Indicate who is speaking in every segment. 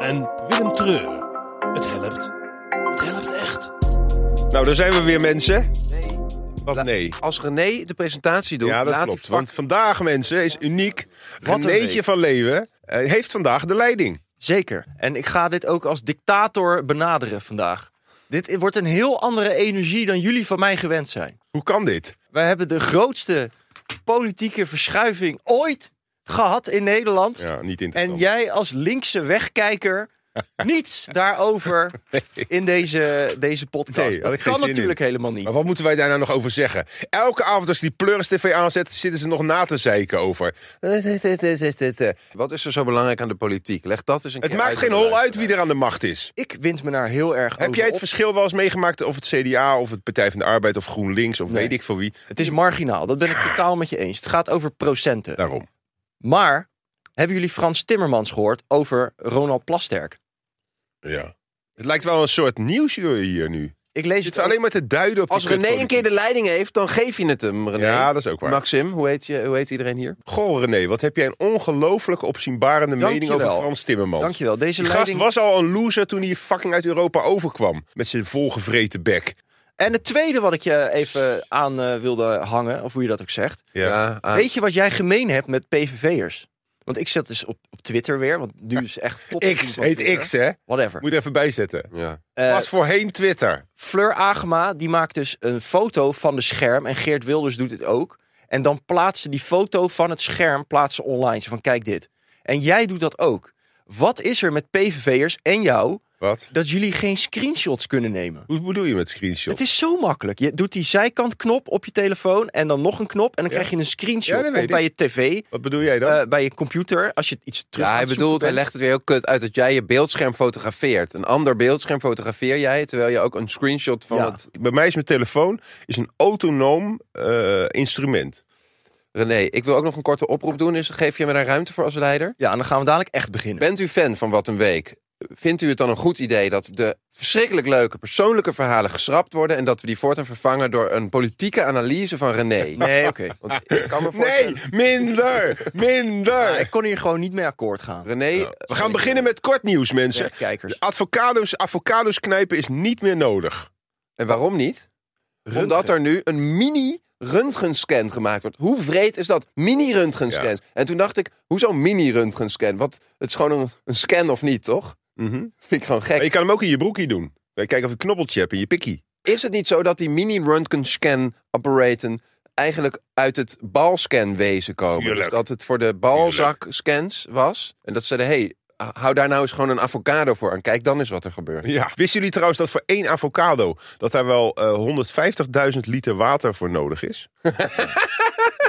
Speaker 1: en Willem Treur. Het helpt. Het helpt echt.
Speaker 2: Nou, daar zijn we weer, mensen. Wat nee?
Speaker 3: Als René de presentatie doet,
Speaker 2: Ja, dat
Speaker 3: laat
Speaker 2: klopt.
Speaker 3: die vak-
Speaker 2: Want vandaag, mensen, is uniek.
Speaker 4: Wat een
Speaker 2: Renéetje
Speaker 4: week.
Speaker 2: van Leeuwen eh, heeft vandaag de leiding.
Speaker 4: Zeker. En ik ga dit ook als dictator benaderen vandaag. Dit wordt een heel andere energie dan jullie van mij gewend zijn.
Speaker 2: Hoe kan dit?
Speaker 4: Wij hebben de grootste politieke verschuiving ooit gehad in Nederland.
Speaker 2: Ja, niet
Speaker 4: en
Speaker 2: interessant.
Speaker 4: jij als linkse wegkijker niets daarover in deze, deze podcast.
Speaker 2: Nee, had ik
Speaker 4: dat
Speaker 2: geen
Speaker 4: kan
Speaker 2: zin
Speaker 4: natuurlijk
Speaker 2: in.
Speaker 4: helemaal niet.
Speaker 2: Maar wat moeten wij daar nou nog over zeggen? Elke avond als die Pleuris TV aanzet, zitten ze nog na te zeiken over.
Speaker 3: Wat is er zo belangrijk aan de politiek? Leg dat eens een
Speaker 2: Het
Speaker 3: keer
Speaker 2: maakt
Speaker 3: uit
Speaker 2: geen
Speaker 3: aan de
Speaker 2: hol uit
Speaker 3: luisteraar.
Speaker 2: wie er aan de macht is.
Speaker 4: Ik wind me daar heel erg
Speaker 2: Heb
Speaker 4: over
Speaker 2: jij het
Speaker 4: op.
Speaker 2: verschil wel eens meegemaakt of het CDA of het Partij van de Arbeid of GroenLinks of weet ik voor wie?
Speaker 4: Het is marginaal, dat ben ik totaal met je eens. Het gaat over procenten.
Speaker 2: Daarom.
Speaker 4: Maar hebben jullie Frans Timmermans gehoord over Ronald Plasterk?
Speaker 2: Ja. Het lijkt wel een soort nieuwsjury hier nu.
Speaker 4: Ik lees
Speaker 2: Zit
Speaker 4: het
Speaker 2: alleen maar te duiden op die
Speaker 3: Als René een
Speaker 2: kutpolitiek.
Speaker 3: keer de leiding heeft, dan geef je het hem, René.
Speaker 2: Ja, dat is ook waar.
Speaker 3: Maxim, hoe heet, je, hoe heet iedereen hier?
Speaker 2: Goh, René, wat heb jij een ongelooflijke opzienbarende
Speaker 4: Dank
Speaker 2: mening
Speaker 4: je
Speaker 2: over
Speaker 4: wel.
Speaker 2: Frans Timmermans.
Speaker 4: Dankjewel. Deze
Speaker 2: Die gast
Speaker 4: leiding...
Speaker 2: was al een loser toen hij fucking uit Europa overkwam. Met zijn volgevreten bek.
Speaker 4: En het tweede wat ik je even aan eh, wilde hangen, of hoe je dat ook zegt.
Speaker 2: Ja. Ah.
Speaker 3: aan-
Speaker 4: Weet je wat jij gemeen hebt met PVV'ers? Want ik zat dus op, op Twitter weer, want nu is echt top.
Speaker 2: X,
Speaker 4: van
Speaker 2: heet
Speaker 4: Twitter.
Speaker 2: X, hè?
Speaker 4: Whatever.
Speaker 2: Moet er even bijzetten.
Speaker 3: ja.
Speaker 4: Eh,
Speaker 2: was voorheen Twitter.
Speaker 4: Fleur Agema, die maakt dus een foto van de scherm. En Geert Wilders doet het ook. En dan plaatsen die foto van het scherm plaatsen online. Zo van, kijk dit. En jij doet dat ook. Wat is er met PVV'ers en jou
Speaker 2: Wat?
Speaker 4: dat jullie geen screenshots kunnen nemen?
Speaker 2: Hoe bedoel je met screenshot?
Speaker 4: Het is zo makkelijk. Je doet die zijkantknop op je telefoon en dan nog een knop. En dan
Speaker 2: Ja.
Speaker 4: krijg je een
Speaker 2: Ja,
Speaker 4: screenshot
Speaker 2: dat weet
Speaker 4: of bij je tv,
Speaker 2: Wat bedoel jij dan?
Speaker 4: eh, bij je computer. Als je iets terug
Speaker 3: Ja,
Speaker 4: aan
Speaker 3: hij
Speaker 4: het zoeken
Speaker 3: bedoelt, hij
Speaker 4: bent.
Speaker 3: legt het weer heel kut uit dat jij je beeldscherm fotografeert. Een ander beeldscherm fotografeer jij, terwijl je ook een screenshot van
Speaker 4: Ja.
Speaker 3: het...
Speaker 2: Bij mij is mijn telefoon is een autonoom eh, instrument.
Speaker 3: René, ik wil ook nog een korte oproep doen. Is, geef je me daar ruimte voor als leider?
Speaker 4: Ja, en dan gaan we dadelijk echt beginnen.
Speaker 3: Bent u fan van Wat een Week? Vindt u het dan een goed idee dat de verschrikkelijk leuke persoonlijke verhalen geschrapt worden... en dat we die voortaan vervangen door een politieke analyse van René?
Speaker 4: Nee, oké.
Speaker 3: Want ik kan me voorstellen...
Speaker 2: Ah. Nee, minder,
Speaker 4: Maar
Speaker 2: minder.
Speaker 4: ik kon hier gewoon niet mee akkoord gaan.
Speaker 3: René... eh,
Speaker 2: We gaan beginnen met kort nieuws, mensen.
Speaker 4: Wegkijkers.
Speaker 2: Advocados, avocados knijpen is niet meer nodig.
Speaker 3: En waarom niet? Omdat er nu een mini röntgenscan gemaakt wordt. Hoe vreed is dat? Mini röntgenscan.
Speaker 2: Ja.
Speaker 3: En toen dacht ik, hoezo mini röntgenscan? Want het is gewoon een, een scan of niet, toch?
Speaker 2: Mhm.
Speaker 3: Vind ik gewoon
Speaker 2: Maar je
Speaker 3: gek.
Speaker 2: kan hem ook in je broekie doen. Kijk of je een knobbeltje hebt in je pikkie.
Speaker 3: Is het niet zo dat die mini röntgenscan apparaten eigenlijk uit het balscanwezen komen?
Speaker 2: Tuurlijk.
Speaker 3: Dus dat het voor de balzakscans was. En dat ze zeiden, hey, hou daar nou eens gewoon een avocado voor en kijk dan eens wat er gebeurt.
Speaker 2: Ja. Wisten jullie trouwens dat voor één avocado... dat daar wel eh 150.000 liter water voor nodig is?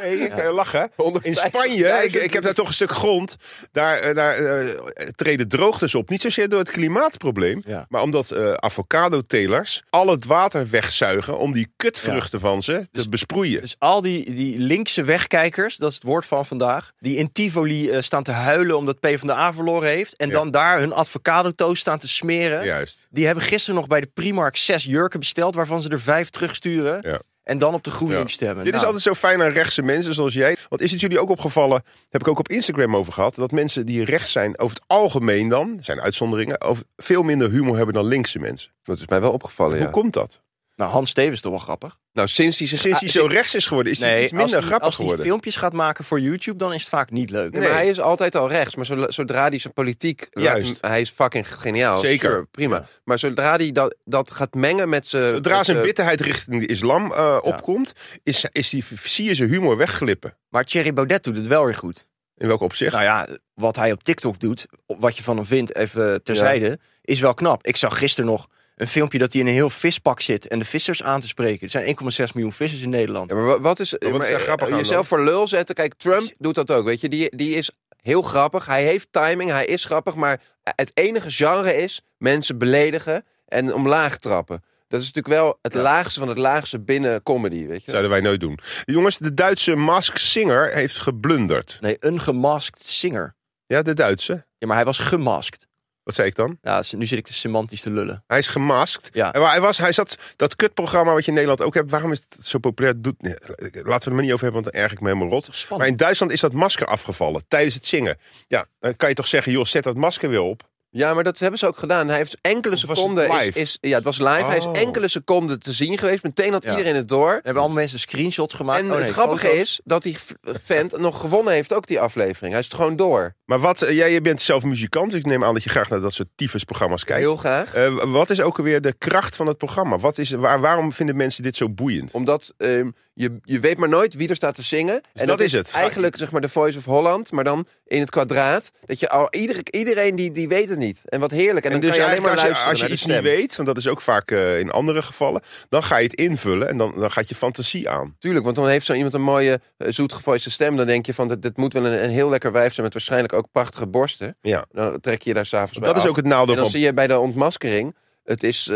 Speaker 2: Nee, ik eh, lach hè. In
Speaker 3: 150.000
Speaker 2: Spanje, ik, ik heb daar toch een stuk grond, daar, eh, daar eh, treden droogtes op. Niet zozeer door het klimaatprobleem,
Speaker 4: Ja.
Speaker 2: maar omdat eh avocado-telers al het water wegzuigen om die kutvruchten van ze te besproeien.
Speaker 4: Dus al die, die linkse wegkijkers, dat is het woord van vandaag, die in Tivoli eh, staan te huilen omdat PvdA verloren heeft. En
Speaker 2: Ja.
Speaker 4: dan daar hun avocado-toast staan te smeren.
Speaker 2: Juist.
Speaker 4: Die hebben gisteren nog bij de Primark zes jurken besteld, waarvan ze er vijf terugsturen.
Speaker 2: Ja.
Speaker 4: En dan op de GroenLinks
Speaker 2: Ja.
Speaker 4: stemmen.
Speaker 2: Dit is
Speaker 4: Nou,
Speaker 2: altijd zo fijn aan rechtse mensen zoals jij. Want is het jullie ook opgevallen, heb ik ook op Instagram over gehad, dat mensen die rechts zijn, over het algemeen dan, er zijn uitzonderingen, over veel minder humor hebben dan linkse mensen.
Speaker 3: Dat is mij wel opgevallen, ja.
Speaker 2: Hoe komt dat?
Speaker 4: nou, Hans Stevens is toch wel grappig.
Speaker 3: Nou, sinds die zich...
Speaker 2: Sinds hij zo rechts is geworden, is hij iets
Speaker 4: als
Speaker 2: minder
Speaker 4: die-
Speaker 2: grappig
Speaker 4: als hij
Speaker 2: geworden.
Speaker 4: filmpjes gaat maken voor YouTube, dan is het vaak niet leuk.
Speaker 3: Nee,
Speaker 2: Nee.
Speaker 3: maar hij is altijd al rechts. Maar zo- zodra hij zijn politiek...
Speaker 2: Juist.
Speaker 3: Hij is fucking geniaal.
Speaker 2: Zeker.
Speaker 3: Sure, prima. Maar zodra hij dat, dat gaat mengen met zijn...
Speaker 2: Zodra
Speaker 3: met
Speaker 2: zijn
Speaker 4: eh,
Speaker 3: zijn-
Speaker 2: bitterheid richting de islam eh, opkomt, is, is die, zie je zijn humor wegglippen.
Speaker 4: Maar Thierry Baudet doet het wel weer goed.
Speaker 2: In welk opzicht?
Speaker 4: Nou ja, wat hij op TikTok doet, wat je van hem vindt, even terzijde, is wel knap. Ik zag gisteren nog een filmpje dat hij in een heel vispak zit en de vissers aan te spreken. Er zijn 1,6 miljoen vissers in Nederland.
Speaker 3: Ja, maar wa- wat is...
Speaker 2: Maar wat is daar
Speaker 3: eh,
Speaker 2: grappig aan
Speaker 3: Jezelf voor lul zetten. Kijk, Trump
Speaker 4: Is-
Speaker 3: doet dat ook, weet je. Die, die is heel grappig. Hij heeft timing. Hij is grappig. Maar het enige genre is mensen beledigen en omlaag trappen. Dat is natuurlijk wel het laagste van het laagste binnen comedy, weet je.
Speaker 2: Zouden wij nooit doen. Jongens, de Duitse Mask Singer heeft geblunderd.
Speaker 4: Nee, een gemaskt singer.
Speaker 2: Ja, de Duitse.
Speaker 4: Ja, maar hij was gemaskt.
Speaker 2: Wat zei ik dan?
Speaker 4: Ja, dus nu zit ik te semantisch te lullen.
Speaker 2: Hij is gemaskt.
Speaker 4: Ja.
Speaker 2: En waar hij, was, hij zat dat kutprogramma wat je in Nederland ook hebt. Waarom is het zo populair? Doet, nee, laten we het er maar niet over hebben, want dan erg ik me helemaal rot.
Speaker 3: Oh.
Speaker 4: Spannend.
Speaker 2: Maar in Duitsland is dat masker afgevallen tijdens het zingen. Ja, dan kan je toch zeggen, joh, zet dat masker weer op.
Speaker 3: Ja, maar dat hebben ze ook gedaan. Hij heeft enkele
Speaker 2: was het
Speaker 3: seconden... is-
Speaker 2: live?
Speaker 3: Is, ja, het was live. Hij is
Speaker 2: Oh.
Speaker 3: enkele seconden te zien geweest. Meteen had
Speaker 4: Ja.
Speaker 3: iedereen het door.
Speaker 4: Er hebben allemaal mensen screenshots gemaakt.
Speaker 3: En
Speaker 4: Oh, nee,
Speaker 3: het grappige
Speaker 4: foto's.
Speaker 3: is dat die v- vent nog gewonnen heeft ook die aflevering. Hij is het gewoon door.
Speaker 2: Maar wat, eh, jij je bent zelf muzikant, dus ik neem aan dat je graag naar dat soort tyfusprogramma's kijkt.
Speaker 3: Heel graag.
Speaker 2: Eh, wat is ook alweer de kracht van het programma? Wat is, waar, waarom vinden mensen dit zo boeiend?
Speaker 3: Omdat ehm, je, je weet maar nooit wie er staat te zingen. en
Speaker 2: dat is het. Ga-
Speaker 3: Eigenlijk zeg maar de Voice of Holland, maar dan in het kwadraat. Dat je al, ieder, iedereen die, die weet het niet. En wat heerlijk. En,
Speaker 2: En dus
Speaker 3: dan kan je alleen maar
Speaker 2: eigenlijk als je,
Speaker 3: luisteren
Speaker 2: als je
Speaker 3: naar
Speaker 2: iets
Speaker 3: de stem.
Speaker 2: niet weet, want dat is ook vaak eh, in andere gevallen, dan ga je het invullen en dan, dan gaat je fantasie aan.
Speaker 3: Tuurlijk, want dan heeft zo iemand een mooie eh, zoetgevoiste stem. Dan denk je van, dit, dit moet wel een, een heel lekker wijf zijn met waarschijnlijk ook prachtige borsten.
Speaker 2: Ja.
Speaker 3: Dan trek je je daar s'avonds bij
Speaker 2: Dat is
Speaker 3: af.
Speaker 2: ook het nadeel
Speaker 3: En dan
Speaker 2: van.
Speaker 3: zie je bij de ontmaskering, het is eh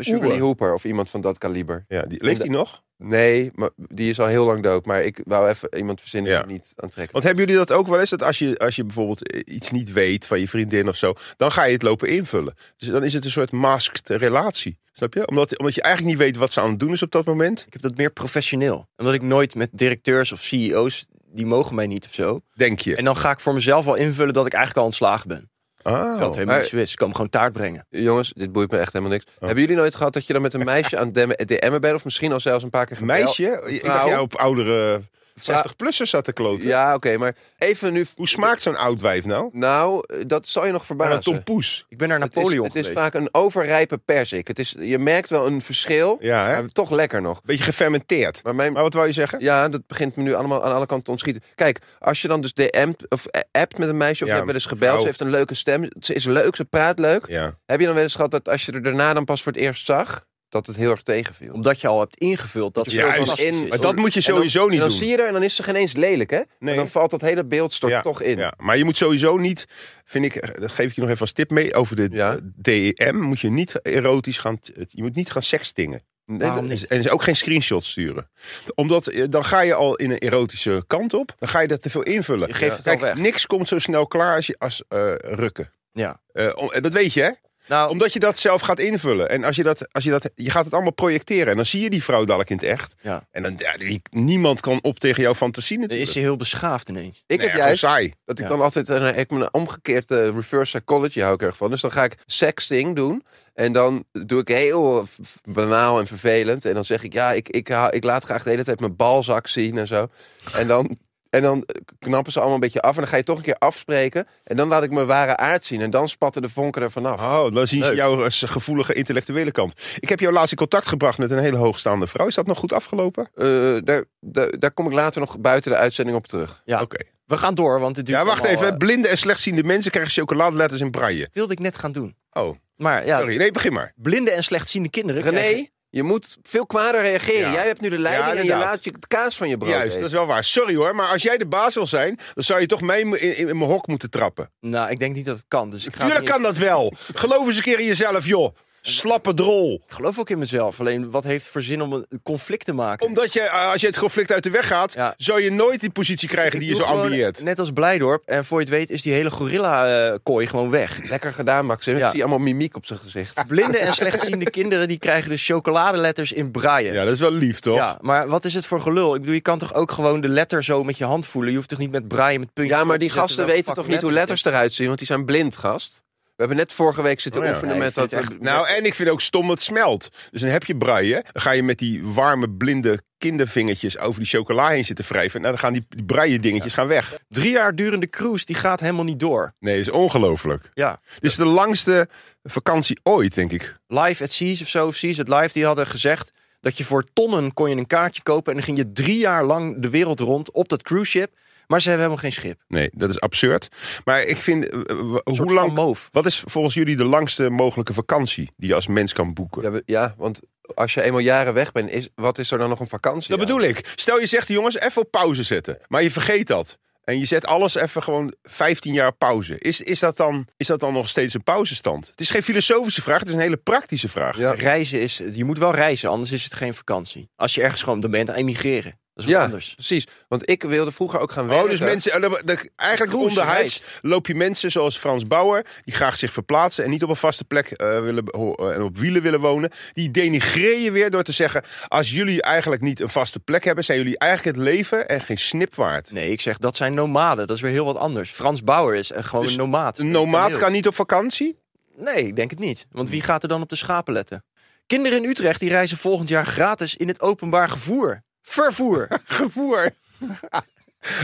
Speaker 3: Sugar Lee
Speaker 2: Oeh.
Speaker 3: Hooper of iemand van dat kaliber.
Speaker 2: Ja, die, leeft
Speaker 3: En
Speaker 2: die nog?
Speaker 3: Nee, maar die is al heel lang dood. Maar ik wou even iemand verzinnen
Speaker 2: Ja.
Speaker 3: die niet aantrekkelijk
Speaker 2: Want hebben jullie dat ook wel eens? Dat als je, als je bijvoorbeeld eh, iets niet weet van je vriendin of zo, dan ga je het lopen invullen. Dus dan is het een soort masked relatie. Snap je? Omdat, omdat je eigenlijk niet weet wat ze aan het doen is op dat moment,
Speaker 4: Ik heb dat meer professioneel. Omdat ik nooit met directeurs of CEO's, die mogen mij niet of zo.
Speaker 2: denk je.
Speaker 4: En dan ga ik voor mezelf wel invullen dat ik eigenlijk al ontslagen ben.
Speaker 2: Ah.
Speaker 4: Terwijl het helemaal niet
Speaker 3: maar-
Speaker 4: zo is. Ik kan hem gewoon taart brengen.
Speaker 3: Jongens, dit boeit me echt helemaal niks.
Speaker 2: Oh.
Speaker 3: Hebben jullie nooit gehad dat je dan met een meisje aan het eh, DM'en bent? Of misschien al zelfs een paar keer gebeld?
Speaker 2: Meisje,
Speaker 3: Een
Speaker 2: ik
Speaker 3: vrouw?
Speaker 2: dacht jij op oudere
Speaker 3: Vrouw-
Speaker 2: 60-plussers zat te kloten.
Speaker 3: Ja, oké, maar even nu...
Speaker 2: Hoe smaakt zo'n oud wijf nou?
Speaker 3: Nou, eh, dat zal je nog
Speaker 2: Naar
Speaker 3: verbazen.
Speaker 2: een tompoes.
Speaker 4: Ik ben naar
Speaker 3: het is,
Speaker 4: Napoleon
Speaker 3: het is
Speaker 4: geweest.
Speaker 3: vaak een overrijpe persik. Het is, je merkt wel een verschil,
Speaker 2: Ja, Oh. hè?
Speaker 3: maar toch lekker nog.
Speaker 2: Beetje gefermenteerd.
Speaker 3: Maar mijn,
Speaker 2: Maar wat wou je zeggen?
Speaker 3: Ja, dat begint me nu allemaal aan alle kanten te ontschieten. Kijk, als je dan dus DM't of eh, appt met een meisje
Speaker 2: Ja,
Speaker 3: of je hebt wel eens gebeld,
Speaker 2: vrouw.
Speaker 3: ze heeft een leuke stem, ze is leuk, ze praat leuk.
Speaker 2: Ja.
Speaker 3: Heb je dan wel eens gehad dat als je er daarna dan pas voor het eerst zag, dat het heel erg tegenviel?
Speaker 4: Omdat je al hebt ingevuld dat
Speaker 2: Ja,
Speaker 4: het
Speaker 2: juist.
Speaker 4: fantastisch
Speaker 3: In-
Speaker 4: is.
Speaker 2: Maar dat moet je sowieso
Speaker 3: en dan,
Speaker 2: niet
Speaker 3: en dan
Speaker 2: doen.
Speaker 3: zie je er en dan is ze geen eens lelijk, hè?
Speaker 2: Nee.
Speaker 3: En dan valt dat hele beeld stort
Speaker 2: Ja,
Speaker 3: toch in.
Speaker 2: Ja, maar je moet sowieso niet, vind ik, dat geef ik je nog even als tip mee over de
Speaker 3: Ja.
Speaker 2: eh, DEM. Moet je niet erotisch gaan, je moet niet gaan seksdingen.
Speaker 3: Nee,
Speaker 4: Waarom
Speaker 3: dat-
Speaker 4: niet?
Speaker 2: En dus ook geen screenshots sturen. Omdat eh, dan ga je al in een erotische kant op. Dan ga je dat te veel invullen.
Speaker 4: Je geeft het
Speaker 2: Kijk,
Speaker 4: al weg.
Speaker 2: niks komt zo snel klaar als, je, als eh, rukken.
Speaker 4: Ja.
Speaker 2: Eh, om- en dat weet je, hè?
Speaker 4: Nou,
Speaker 2: Omdat je dat zelf gaat invullen. En als je, dat, als je dat. Je gaat het allemaal projecteren. En dan zie je die vrouw dadelijk in het echt.
Speaker 4: Ja.
Speaker 2: En dan. Ja, die- niemand kan op tegen jouw fantasie
Speaker 4: dan
Speaker 2: natuurlijk.
Speaker 4: is ze heel beschaafd ineens.
Speaker 3: Ik
Speaker 2: Nee,
Speaker 3: heb
Speaker 2: ja, gewoon
Speaker 3: juist
Speaker 2: saai.
Speaker 3: dat ik
Speaker 4: Ja.
Speaker 3: dan altijd een, ik heb een omgekeerd eh, reverse psychology hou ik erg van. Dus dan ga ik sexting doen en dan doe ik heel f- f- banaal en vervelend en dan zeg ik ja, ik, ik, hou- ik laat graag de hele tijd mijn balzak zien en zo. En dan en dan eh, knappen ze allemaal een beetje af en dan ga je toch een keer afspreken en dan laat ik mijn ware aard zien en dan spatten de vonken er vanaf.
Speaker 2: Oh, dan zien ze
Speaker 3: Leuk.
Speaker 2: jouw eh, gevoelige intellectuele kant. Ik heb jou laatst in contact gebracht met een hele hoogstaande vrouw. Is dat nog goed afgelopen?
Speaker 3: Eh, daar, daar, daar kom ik later nog buiten de uitzending op terug.
Speaker 4: Ja.
Speaker 2: Oké.
Speaker 4: We gaan door, want het duurt
Speaker 2: Ja, wacht
Speaker 4: allemaal,
Speaker 2: even.
Speaker 4: eh,
Speaker 2: Blinde en slechtziende mensen krijgen chocoladeletters in braille.
Speaker 4: wilde ik net gaan doen.
Speaker 2: Oh,
Speaker 4: Maar ja,
Speaker 2: sorry. Nee, begin maar.
Speaker 4: blinde en slechtziende kinderen krijgen-
Speaker 3: René, je moet veel kwader reageren.
Speaker 2: Ja.
Speaker 3: Jij hebt nu de leiding
Speaker 2: Ja,
Speaker 3: en je
Speaker 2: inderdaad.
Speaker 3: laat je het kaas van je brood
Speaker 2: Juist,
Speaker 3: eten.
Speaker 2: dat is wel waar. Sorry hoor, maar als jij de baas wil zijn, dan zou je toch mee in, in- in mijn hok moeten trappen.
Speaker 4: Nou, ik denk niet dat het kan. Dus ik ga het
Speaker 2: Tuurlijk
Speaker 4: niet-
Speaker 2: kan dat wel. Geloof eens een keer in jezelf, joh. Slappe drol.
Speaker 4: Ik geloof ook in mezelf. Alleen wat heeft voor zin om een conflict te maken?
Speaker 2: Omdat je, eh, als je het conflict uit de weg gaat,
Speaker 4: Ja.
Speaker 2: zou je nooit die positie krijgen die je
Speaker 4: Ik
Speaker 2: zo
Speaker 4: doe gewoon
Speaker 2: ambieert.
Speaker 4: Net als Blijdorp. En voor je het weet is die hele gorilla-kooi gewoon weg.
Speaker 3: Lekker gedaan, Max. Ik
Speaker 4: Ja.
Speaker 3: zie allemaal mimiek op zijn gezicht.
Speaker 4: Blinde en slechtziende kinderen die krijgen dus chocoladeletters in braille.
Speaker 2: Ja, dat is wel lief, toch?
Speaker 4: Ja, maar wat is het voor gelul? Ik bedoel, je kan toch ook gewoon de letter zo met je hand voelen? Je hoeft toch niet met braille met puntjes...
Speaker 3: Ja, maar
Speaker 4: op te
Speaker 3: die
Speaker 4: zetten
Speaker 3: gasten
Speaker 4: welke
Speaker 3: weten toch niet
Speaker 4: fucking
Speaker 3: hoe letters eruit zien, want die zijn blind, gast. We hebben net vorige week zitten
Speaker 2: Oh ja.
Speaker 3: oefenen
Speaker 4: Nee,
Speaker 3: met
Speaker 4: ik vind
Speaker 3: dat.
Speaker 4: het
Speaker 2: Nou, en ik vind ook stom dat het smelt. Dus dan heb je braille. Dan ga je met die warme, blinde kindervingertjes over die chocola heen zitten wrijven. Nou, dan gaan die, die braille dingetjes gaan weg.
Speaker 4: het- Drie jaar durende cruise, die gaat helemaal niet door.
Speaker 2: Nee, dat is ongelooflijk.
Speaker 4: Ja.
Speaker 2: Dit is de langste vakantie ooit, denk ik.
Speaker 4: Live at Seas of zo, of Seas at Live, die hadden gezegd... dat je voor tonnen kon je een kaartje kopen... en dan ging je drie jaar lang de wereld rond op dat cruise ship... maar ze hebben helemaal geen schip.
Speaker 2: Nee, dat is absurd. Maar ik vind, eh, eh, w-
Speaker 4: Een soort
Speaker 2: hoe
Speaker 4: Van
Speaker 2: lang...
Speaker 4: Moof.
Speaker 2: Wat is volgens jullie de langste mogelijke vakantie die je als mens kan boeken?
Speaker 3: Ja, we- ja, want als je eenmaal jaren weg bent, is, wat is er dan nog een vakantie?
Speaker 2: Dat bedoel ik. Stel je zegt, jongens, even op pauze zetten. Maar je vergeet dat. En je zet alles even gewoon 15 jaar pauze. Is, is, dat dan, is dat dan nog steeds een pauzestand? Het is geen filosofische vraag, het is een hele praktische vraag.
Speaker 3: Ja.
Speaker 4: Reizen is, je moet wel reizen, anders is het geen vakantie. Als je ergens gewoon, dan ben je aan het emigreren. Dat is wat
Speaker 3: Ja,
Speaker 4: anders.
Speaker 3: precies. Want ik wilde vroeger ook gaan werken.
Speaker 2: Oh, dus mensen, eh, dan- dan- eigenlijk
Speaker 4: Cruise,
Speaker 2: onderhuis loop je mensen zoals Frans Bauer, die graag zich verplaatsen en niet op een vaste plek eh, willen, ho- eh, en op wielen willen wonen. Die denigreer je weer door te zeggen: als jullie eigenlijk niet een vaste plek hebben, zijn jullie eigenlijk het leven en geen snip waard.
Speaker 4: Nee, ik zeg dat zijn nomaden. Dat is weer heel wat anders. Frans Bauer is eh, gewoon
Speaker 2: Dus
Speaker 4: een nomaat.
Speaker 2: Een nomaad
Speaker 4: Heel-
Speaker 2: kan Hmm. niet op vakantie.
Speaker 4: Nee, ik denk het niet. Want wie gaat er dan op de schapen letten? Kinderen in Utrecht die reizen volgend jaar gratis in het openbaar gevoer. Vervoer. Dat
Speaker 2: Gevoer.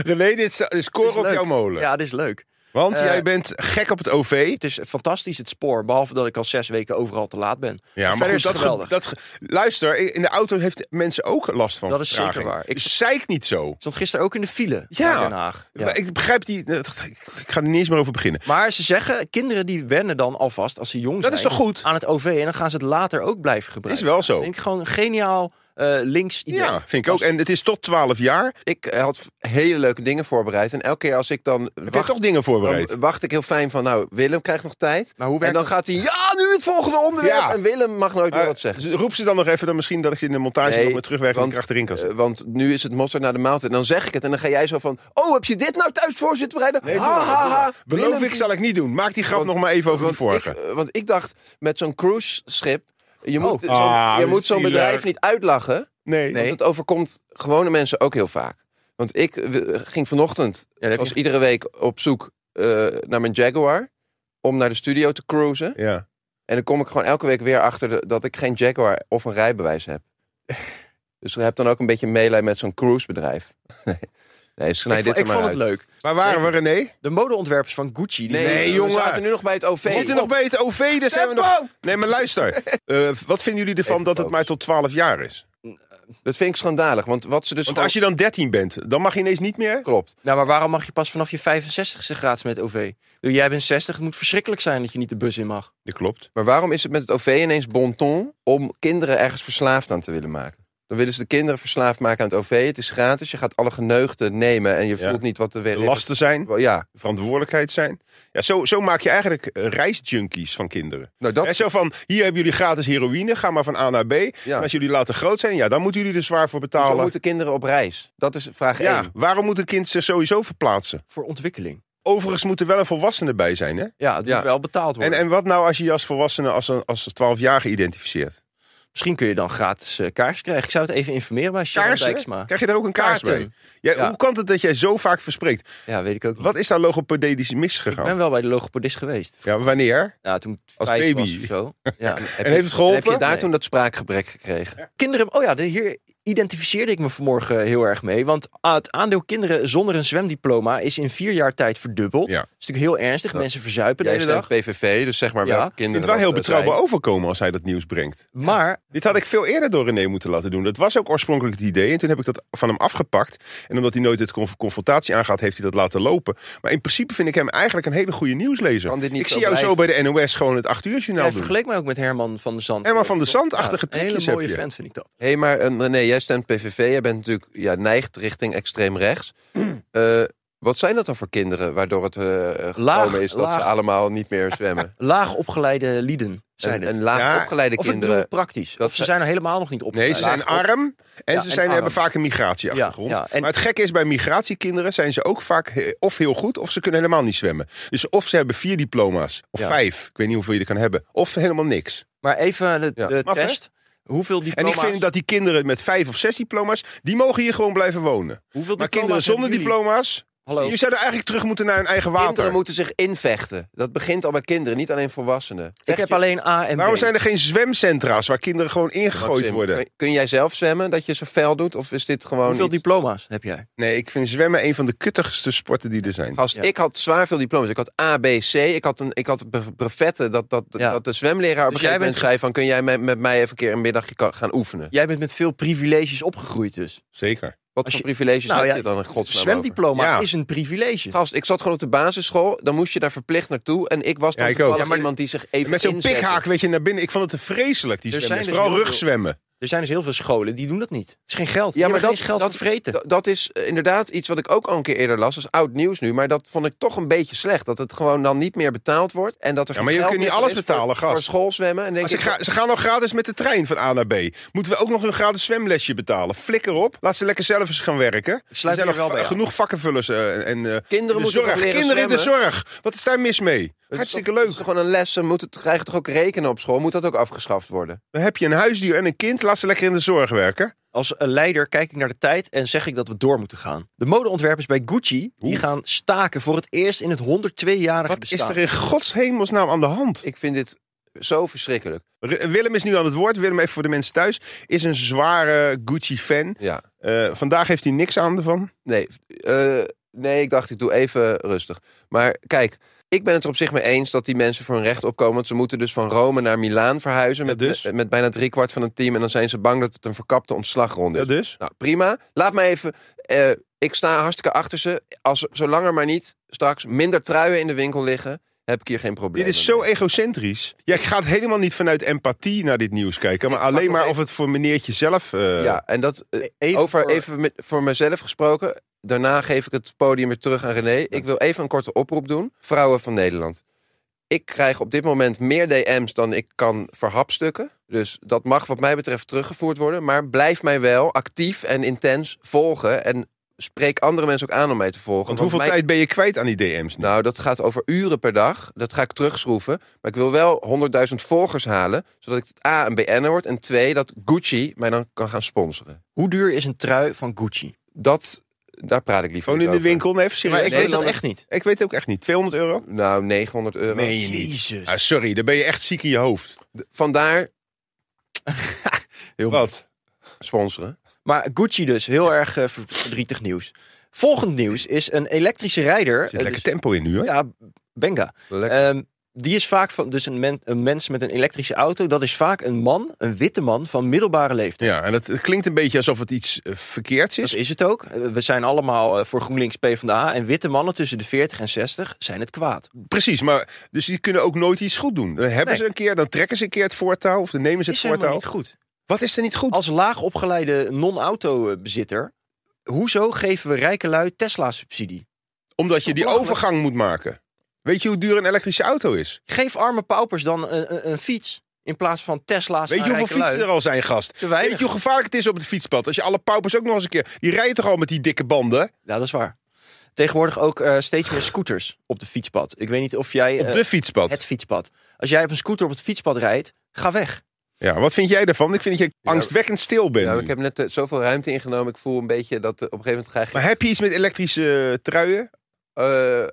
Speaker 2: René, dit is- is
Speaker 4: is
Speaker 2: koren op
Speaker 4: leuk.
Speaker 2: jouw molen.
Speaker 4: Ja, dit is leuk.
Speaker 2: Want
Speaker 4: Eh,
Speaker 2: jij bent gek op het OV.
Speaker 4: Het is fantastisch, het spoor. Behalve dat ik al zes weken overal te laat ben.
Speaker 2: Ja, maar
Speaker 4: Verder
Speaker 2: goed,
Speaker 4: is het
Speaker 2: dat, ge-
Speaker 4: geweldig.
Speaker 2: dat ge- luister, in de auto heeft mensen ook last van
Speaker 4: Dat is zeker
Speaker 2: vertraging.
Speaker 4: waar. Ik-
Speaker 2: Dus zeik niet zo.
Speaker 4: Ik stond gisteren ook in de file
Speaker 2: Ja.
Speaker 4: naar Den Haag. Ja.
Speaker 2: Maar Ik begrijp die. dat- Ik ik ga er niet eens meer over beginnen.
Speaker 4: Maar ze zeggen, kinderen die wennen dan alvast als ze jong zijn.
Speaker 2: Dat is toch goed?
Speaker 4: Aan het OV en dan gaan ze het later ook blijven
Speaker 2: Is
Speaker 4: gebruiken.
Speaker 2: wel zo.
Speaker 4: Vind ik gewoon een geniaal eh, links idee.
Speaker 2: Ja, vind ik ook. En het is tot 12 jaar.
Speaker 3: Ik eh, had hele leuke dingen voorbereid. En elke keer als ik dan
Speaker 2: Ik heb
Speaker 3: wacht,
Speaker 2: toch dingen voorbereid.
Speaker 4: eh,
Speaker 3: dan wacht ik heel fijn van... Nou, Willem krijgt nog tijd.
Speaker 4: Maar hoe
Speaker 3: en
Speaker 4: werkt
Speaker 3: dan
Speaker 4: dat?
Speaker 3: gaat hij... Ja, nu het volgende onderwerp.
Speaker 2: Ja.
Speaker 3: En Willem mag nooit meer
Speaker 2: Maar
Speaker 3: wat zeggen.
Speaker 2: roep ze dan nog even, dan misschien dat ik ze in de montage
Speaker 3: Nee,
Speaker 2: nog met terugwerking
Speaker 3: want,
Speaker 2: achterin kan zetten.
Speaker 3: Eh, want nu is het monster naar de maaltijd. En dan zeg ik het. En dan ga jij zo van... Oh, heb je dit nou thuis voor zitten bereiden?
Speaker 2: Nee, doe
Speaker 3: ha,
Speaker 2: maar, doe
Speaker 3: ha,
Speaker 2: maar.
Speaker 3: ha.
Speaker 2: Beloof
Speaker 3: Willem-
Speaker 2: ik, zal ik niet doen. Maak die grap
Speaker 3: Want-
Speaker 2: nog maar even over die
Speaker 3: want
Speaker 2: vorige.
Speaker 3: Ik, eh, want ik dacht, met zo'n cruiseschip... Je moet
Speaker 4: Oh.
Speaker 3: zo'n
Speaker 2: Ah,
Speaker 3: je moet zo'n
Speaker 2: zielig.
Speaker 3: bedrijf niet uitlachen.
Speaker 2: nee.
Speaker 4: Nee.
Speaker 3: Want het overkomt gewone mensen ook heel vaak. Want ik eh, ging vanochtend,
Speaker 4: Ja, dat heb
Speaker 3: als
Speaker 4: je-
Speaker 3: iedere week, op zoek eh, naar mijn Jaguar. Om naar de studio te cruisen.
Speaker 2: Ja.
Speaker 3: En dan kom ik gewoon elke week weer achter de- dat ik geen Jaguar of een rijbewijs heb. Dus heb dan ook een beetje meelij met zo'n cruisebedrijf. nee, snij
Speaker 4: ik, vond-
Speaker 3: dit er
Speaker 4: ik
Speaker 3: maar
Speaker 4: vond het
Speaker 3: uit.
Speaker 4: leuk.
Speaker 2: Waar waren we, René?
Speaker 4: De modeontwerpers van Gucci. Die
Speaker 3: Nee,
Speaker 2: Nee,
Speaker 3: we
Speaker 2: jongen.
Speaker 3: zaten nu nog bij het OV.
Speaker 2: We zitten nog bij het OV. Daar zijn we nog...
Speaker 4: Tempo!
Speaker 2: Nee, maar luister. Eh, wat vinden jullie ervan
Speaker 3: Even
Speaker 2: dat het
Speaker 3: focus.
Speaker 2: maar tot 12 jaar is?
Speaker 3: Dat vind ik schandalig. Want wat ze dus
Speaker 2: Want
Speaker 3: gewoon-
Speaker 2: als je dan 13 bent, dan mag je ineens niet meer?
Speaker 3: Klopt.
Speaker 4: Nou, maar waarom mag je pas vanaf je 65ste gratis met OV? Ik bedoel, Jij bent 60, het moet verschrikkelijk zijn dat je niet de bus in mag.
Speaker 2: Dat klopt.
Speaker 3: Maar waarom is het met het OV ineens bon ton om kinderen ergens verslaafd aan te willen maken? Dan willen ze de kinderen verslaafd maken aan het OV. Het is gratis. Je gaat alle geneugten nemen en je
Speaker 2: Ja.
Speaker 3: voelt niet wat er weer is.
Speaker 2: Lasten zijn,
Speaker 3: Ja,
Speaker 2: verantwoordelijkheid zijn. Ja, zo, zo maak je eigenlijk eh, reisjunkies van kinderen.
Speaker 3: nou dat.
Speaker 2: Hè, zo van, hier hebben jullie gratis heroïne, ga maar van A naar B.
Speaker 3: Ja.
Speaker 2: En als jullie later groot zijn, ja, dan moeten jullie er zwaar voor
Speaker 3: Zo
Speaker 2: betalen.
Speaker 3: moeten kinderen op reis. Dat is vraag
Speaker 2: ja,
Speaker 3: 1.
Speaker 2: waarom moet een kind zich sowieso verplaatsen?
Speaker 4: Voor ontwikkeling.
Speaker 2: Overigens moet er wel een volwassene bij zijn, hè?
Speaker 4: Ja, het
Speaker 3: Ja.
Speaker 4: moet wel betaald
Speaker 2: En,
Speaker 4: worden.
Speaker 2: en wat nou als je je als volwassene als, een, als een 12-jarige identificeert?
Speaker 4: Misschien kun je dan gratis eh kaars krijgen. Ik zou het even informeren bij Sharon Dijksma.
Speaker 2: Krijg je daar ook een kaars
Speaker 4: Kaarten.
Speaker 2: bij? Ja,
Speaker 4: Ja.
Speaker 2: Hoe kan het dat jij zo vaak verspreekt?
Speaker 4: Ja, weet ik ook niet.
Speaker 2: Wat is daar logopedisch
Speaker 4: Ik
Speaker 2: misgegaan?
Speaker 4: ben wel bij de logopedist geweest.
Speaker 2: Ja, wanneer?
Speaker 4: Ja, toen ik
Speaker 2: Als
Speaker 4: vijf
Speaker 2: baby.
Speaker 4: was of zo. Ja.
Speaker 3: Heb
Speaker 2: en
Speaker 3: je-
Speaker 2: heeft het geholpen?
Speaker 3: Heb je daar
Speaker 4: Nee.
Speaker 3: toen dat spraakgebrek gekregen?
Speaker 4: Kinderen, oh ja, de- hier identificeerde ik me vanmorgen heel erg mee. Want ah, het aandeel kinderen zonder een zwemdiploma is in vier jaar tijd verdubbeld.
Speaker 2: Ja.
Speaker 4: Dat is natuurlijk heel ernstig. Mensen verzuipen de
Speaker 3: Jij
Speaker 4: hele
Speaker 3: stemt
Speaker 4: dag.
Speaker 3: PVV, dus zeg maar
Speaker 4: Ja.
Speaker 3: welke
Speaker 4: Ik
Speaker 2: Ik vind
Speaker 3: kinderen
Speaker 2: het wel heel
Speaker 3: dat, eh, zijn.
Speaker 4: Oh.
Speaker 2: betrouwbaar overkomen als hij dat nieuws brengt.
Speaker 4: Maar
Speaker 2: Dit had ik veel eerder door René moeten laten doen. Dat was ook oorspronkelijk het idee. En toen heb ik dat van hem afgepakt. En omdat hij nooit het conf- confrontatie aangaat, heeft hij dat laten lopen. Maar in principe vind ik hem eigenlijk een hele goede nieuwslezer.
Speaker 3: Kan dit niet
Speaker 2: ik
Speaker 3: zo
Speaker 2: zie jou zo bij
Speaker 3: blijven?
Speaker 2: de NOS gewoon het 8 uur journaal
Speaker 4: jij
Speaker 2: doen.
Speaker 4: vergeleek mij ook met Herman van der Zand.
Speaker 2: Herman van der Zand-achtige
Speaker 4: Een hele
Speaker 2: trucjes heb
Speaker 4: mooie
Speaker 2: je.
Speaker 4: vent vind ik dat.
Speaker 3: Hé, hey, maar eh, René, jij stemt PVV. Jij bent natuurlijk ja, neigt richting extreem rechts. Eh, wat zijn dat dan voor kinderen waardoor het eh gekomen
Speaker 4: Laag,
Speaker 3: is dat
Speaker 4: laag.
Speaker 3: ze allemaal niet meer zwemmen?
Speaker 4: Laag opgeleide lieden, zijn
Speaker 3: en,
Speaker 4: het.
Speaker 3: en laag
Speaker 2: Ja,
Speaker 3: opgeleide
Speaker 4: of
Speaker 3: kinderen.
Speaker 4: het bedoel ik praktisch.
Speaker 3: dat
Speaker 4: of ze
Speaker 3: ze-
Speaker 4: zijn er helemaal nog niet opgeleid.
Speaker 2: Nee, ze zijn
Speaker 4: Eh, Laag op-
Speaker 2: arm en
Speaker 4: Ja,
Speaker 2: ze
Speaker 4: en
Speaker 2: zijn,
Speaker 4: arm.
Speaker 2: hebben vaak een migratieachtergrond.
Speaker 4: Ja, ja, en-
Speaker 2: Maar het gekke is, bij migratiekinderen zijn ze ook vaak eh, of heel goed... of ze kunnen helemaal niet zwemmen. Dus of ze hebben vier diploma's, of
Speaker 4: Ja.
Speaker 2: vijf. Ik weet niet hoeveel je er kan hebben. Of helemaal niks.
Speaker 4: Maar even de,
Speaker 3: Ja.
Speaker 4: de
Speaker 2: Maf, hè?
Speaker 4: test. Hoeveel
Speaker 2: En
Speaker 4: diploma's,
Speaker 2: ik vind dat die kinderen met vijf of zes diploma's... die mogen hier gewoon blijven wonen.
Speaker 4: hoeveel
Speaker 2: Maar
Speaker 4: diploma's
Speaker 2: kinderen zonder
Speaker 4: hebben jullie? Oh.
Speaker 2: diploma's.
Speaker 4: Hallo.
Speaker 2: Je zou er eigenlijk terug moeten naar hun eigen
Speaker 3: Kinderen
Speaker 2: water.
Speaker 3: moeten zich invechten. Dat begint al bij kinderen, niet alleen volwassenen.
Speaker 4: Ik heb alleen A en B.
Speaker 2: Waarom zijn er geen zwemcentra's waar kinderen gewoon ingegooid worden?
Speaker 3: Kun, kun jij zelf zwemmen dat je zo fel doet? Of is dit gewoon.
Speaker 2: Oh,
Speaker 4: Hoeveel
Speaker 3: iets-
Speaker 4: diploma's heb jij?
Speaker 2: Nee, ik vind zwemmen een van de kuttigste sporten die er zijn.
Speaker 3: Gast,
Speaker 4: Ja.
Speaker 3: Ik had zwaar veel diploma's. Ik had A, B, C. Ik had, een, ik had be- brevetten dat, dat,
Speaker 4: Ja.
Speaker 3: dat de zwemleraar op
Speaker 4: Dus
Speaker 3: een
Speaker 4: jij
Speaker 3: gegeven moment
Speaker 4: bent-
Speaker 3: zei: van, Kun jij met, met mij even een keer een middagje ka- gaan oefenen?
Speaker 4: Jij bent met veel privileges opgegroeid dus.
Speaker 2: Zeker.
Speaker 3: Wat
Speaker 4: Als
Speaker 3: voor
Speaker 4: je-
Speaker 3: privileges
Speaker 2: Nou
Speaker 3: heb je dan in godsnaam? over?
Speaker 4: zwemdiploma
Speaker 2: Ja.
Speaker 4: is een privilege.
Speaker 3: Gast, ik zat gewoon op de basisschool. Dan moest je daar verplicht naartoe. En ik was dan
Speaker 2: Ja, ik ook.
Speaker 3: toevallig
Speaker 2: Ja, maar-
Speaker 3: iemand die zich even
Speaker 2: Met zo'n
Speaker 3: inzette.
Speaker 2: pikhaak weet je naar binnen. Ik vond het te vreselijk, die
Speaker 4: Er
Speaker 2: zwemmen.
Speaker 4: zijn dus
Speaker 2: Vooral
Speaker 4: heel veel-
Speaker 2: rugzwemmen.
Speaker 4: Er zijn dus heel veel scholen die doen dat niet. Het is geen geld.
Speaker 3: Ja, maar dat,
Speaker 4: is geld
Speaker 3: dat,
Speaker 4: te vreten.
Speaker 3: dat- dat is eh, inderdaad iets wat ik ook al een keer eerder las. Dat is oud nieuws nu, maar dat vond ik toch een beetje slecht. Dat het gewoon dan niet meer betaald wordt. En dat
Speaker 2: Ja,
Speaker 3: er geen
Speaker 2: maar je
Speaker 3: geld
Speaker 2: kunt niet
Speaker 3: meer
Speaker 2: alles
Speaker 3: is voor-
Speaker 2: betalen, gast.
Speaker 3: Voor schoolzwemmen. En denk
Speaker 2: Maar
Speaker 3: ik,
Speaker 2: ze, ga- ze gaan nog gratis met de trein van A naar B. Moeten we ook nog een gratis zwemlesje betalen? Flikker op. Laat ze lekker zelf eens gaan werken. er
Speaker 4: sluit me
Speaker 2: zijn
Speaker 4: hier
Speaker 2: nog
Speaker 4: wel bij aan.
Speaker 2: genoeg vakkenvullers. eh, en, eh, in de
Speaker 3: moeten
Speaker 2: zorg.
Speaker 3: toch leren
Speaker 2: Kinderen in de
Speaker 3: zwemmen?
Speaker 2: zorg. Wat is daar mis mee?
Speaker 3: het is
Speaker 2: Hartstikke
Speaker 3: toch-
Speaker 2: leuk.
Speaker 3: Het is toch gewoon een les. Ze moeten toch- krijgen toch ook rekenen op school. Moet dat ook afgeschaft worden?
Speaker 2: Dan heb je een huisdier en een kind. Laat ze lekker in de zorg werken.
Speaker 4: Als een leider kijk ik naar de tijd en zeg ik dat we door moeten gaan. De modeontwerpers bij Gucci die
Speaker 2: Oeh.
Speaker 4: gaan staken voor het eerst in het 102-jarige
Speaker 2: Wat is
Speaker 4: bestaan.
Speaker 2: er in gods hemelsnaam aan de hand?
Speaker 3: Ik vind dit zo verschrikkelijk.
Speaker 2: R- Willem is nu aan het woord. Willem, even voor de mensen thuis, is een zware Gucci-fan.
Speaker 3: Ja.
Speaker 2: Eh, vandaag heeft hij niks aan ervan.
Speaker 3: Nee, eh, nee, ik dacht, ik doe even rustig. Maar kijk, ik ben het er op zich mee eens dat die mensen voor hun recht opkomen. Want ze moeten dus van Rome naar Milaan verhuizen. Met,
Speaker 2: dus?
Speaker 3: met, met bijna driekwart van het team. En dan zijn ze bang dat het een verkapte ontslagronde
Speaker 2: Ja,
Speaker 3: is.
Speaker 2: dus?
Speaker 3: Nou, prima. Laat mij even. eh, ik sta hartstikke achter ze. Als, zolang er maar niet straks minder truien in de winkel liggen, heb ik hier geen probleem.
Speaker 2: Dit is zo egocentrisch. Jij gaat helemaal niet vanuit empathie naar dit nieuws kijken, maar alleen maar of het voor meneertje zelf. eh,
Speaker 3: Ja, en dat. eh,
Speaker 4: Even
Speaker 3: over
Speaker 4: voor-
Speaker 3: even met, voor mezelf gesproken. Daarna geef ik het podium weer terug aan René. Ik wil even een korte oproep doen. Vrouwen van Nederland. Ik krijg op dit moment meer DM's dan ik kan verhapstukken. Dus dat mag wat mij betreft teruggevoerd worden. Maar blijf mij wel actief en intens volgen. En spreek andere mensen ook aan om mij te volgen.
Speaker 2: Want hoeveel
Speaker 3: mijn-
Speaker 2: tijd ben je kwijt aan die DM's? Nu?
Speaker 3: Nou, dat gaat over uren per dag. Dat ga ik terugschroeven. Maar ik wil wel 100.000 volgers halen. Zodat ik A, een BN'er word. En twee, dat Gucci mij dan kan gaan sponsoren.
Speaker 4: Hoe duur is een trui van Gucci?
Speaker 3: Dat, daar praat ik liever
Speaker 2: Gewoon in
Speaker 3: niet
Speaker 2: de
Speaker 3: over.
Speaker 2: winkel? Nee, even serieus.
Speaker 4: Maar ik weet dat
Speaker 3: Nederlander-
Speaker 4: echt niet.
Speaker 2: Ik weet het ook echt niet. 200 euro?
Speaker 3: Nou, 900 euro.
Speaker 2: Meen je niet.
Speaker 4: Jezus.
Speaker 2: Ah, sorry, dan ben je echt ziek in je hoofd.
Speaker 3: Vandaar
Speaker 4: Heel
Speaker 2: Wat?
Speaker 3: sponsoren.
Speaker 4: Maar Gucci dus, heel erg eh, ver- verdrietig nieuws. Volgend nieuws is een elektrische rijder.
Speaker 2: Er zit
Speaker 4: eh,
Speaker 2: lekker
Speaker 4: dus-
Speaker 2: tempo in nu, hè?
Speaker 4: ja, Benga.
Speaker 3: Lekker.
Speaker 4: Ehm, die is vaak van, dus een, men- een mens met een elektrische auto. Dat is vaak een man, een witte man van middelbare leeftijd.
Speaker 2: Ja, en dat het klinkt een beetje alsof het iets eh, verkeerds
Speaker 4: Dat
Speaker 2: is.
Speaker 4: is het ook. Eh, We zijn allemaal eh, voor GroenLinks PvdA. En witte mannen tussen de 40 en 60 zijn het kwaad.
Speaker 2: Precies, maar dus die kunnen ook nooit iets goed doen. Dan hebben
Speaker 4: Nee.
Speaker 2: ze een keer, dan trekken ze een keer het voortouw of dan nemen ze
Speaker 4: Het is
Speaker 2: het
Speaker 4: helemaal
Speaker 2: voortouw.
Speaker 4: niet goed.
Speaker 2: Wat is er niet goed?
Speaker 4: Als laag opgeleide non-autobezitter... Hoezo geven we rijke lui Tesla-subsidie?
Speaker 2: Omdat
Speaker 4: is
Speaker 2: je die
Speaker 4: belachelijk.
Speaker 2: overgang moet maken. Weet je hoe duur een elektrische auto is?
Speaker 4: Geef arme paupers dan een, een, een fiets... in plaats van Tesla's
Speaker 2: Weet
Speaker 4: aan
Speaker 2: je hoeveel
Speaker 4: rijke lui.
Speaker 2: fietsen er al zijn, gast?
Speaker 4: Te weinig.
Speaker 2: Weet je hoe gevaarlijk het is op het fietspad? Als je alle paupers ook nog eens een keer... Die rijden toch al met die dikke banden?
Speaker 4: Ja, dat is waar. Tegenwoordig ook eh, steeds meer scooters op de fietspad. Ik weet niet of jij...
Speaker 2: Op
Speaker 4: eh,
Speaker 2: de fietspad.
Speaker 4: het fietspad. Als jij op een scooter op het fietspad rijdt, ga weg.
Speaker 2: Ja, wat vind jij daarvan? Ik vind dat je angstwekkend stil bent
Speaker 3: Nou,
Speaker 2: nu.
Speaker 3: ik heb net eh, zoveel ruimte ingenomen. Ik voel een beetje dat eh, op een gegeven moment krijg ik...
Speaker 2: Maar heb je iets met elektrische eh, truien?
Speaker 3: eh,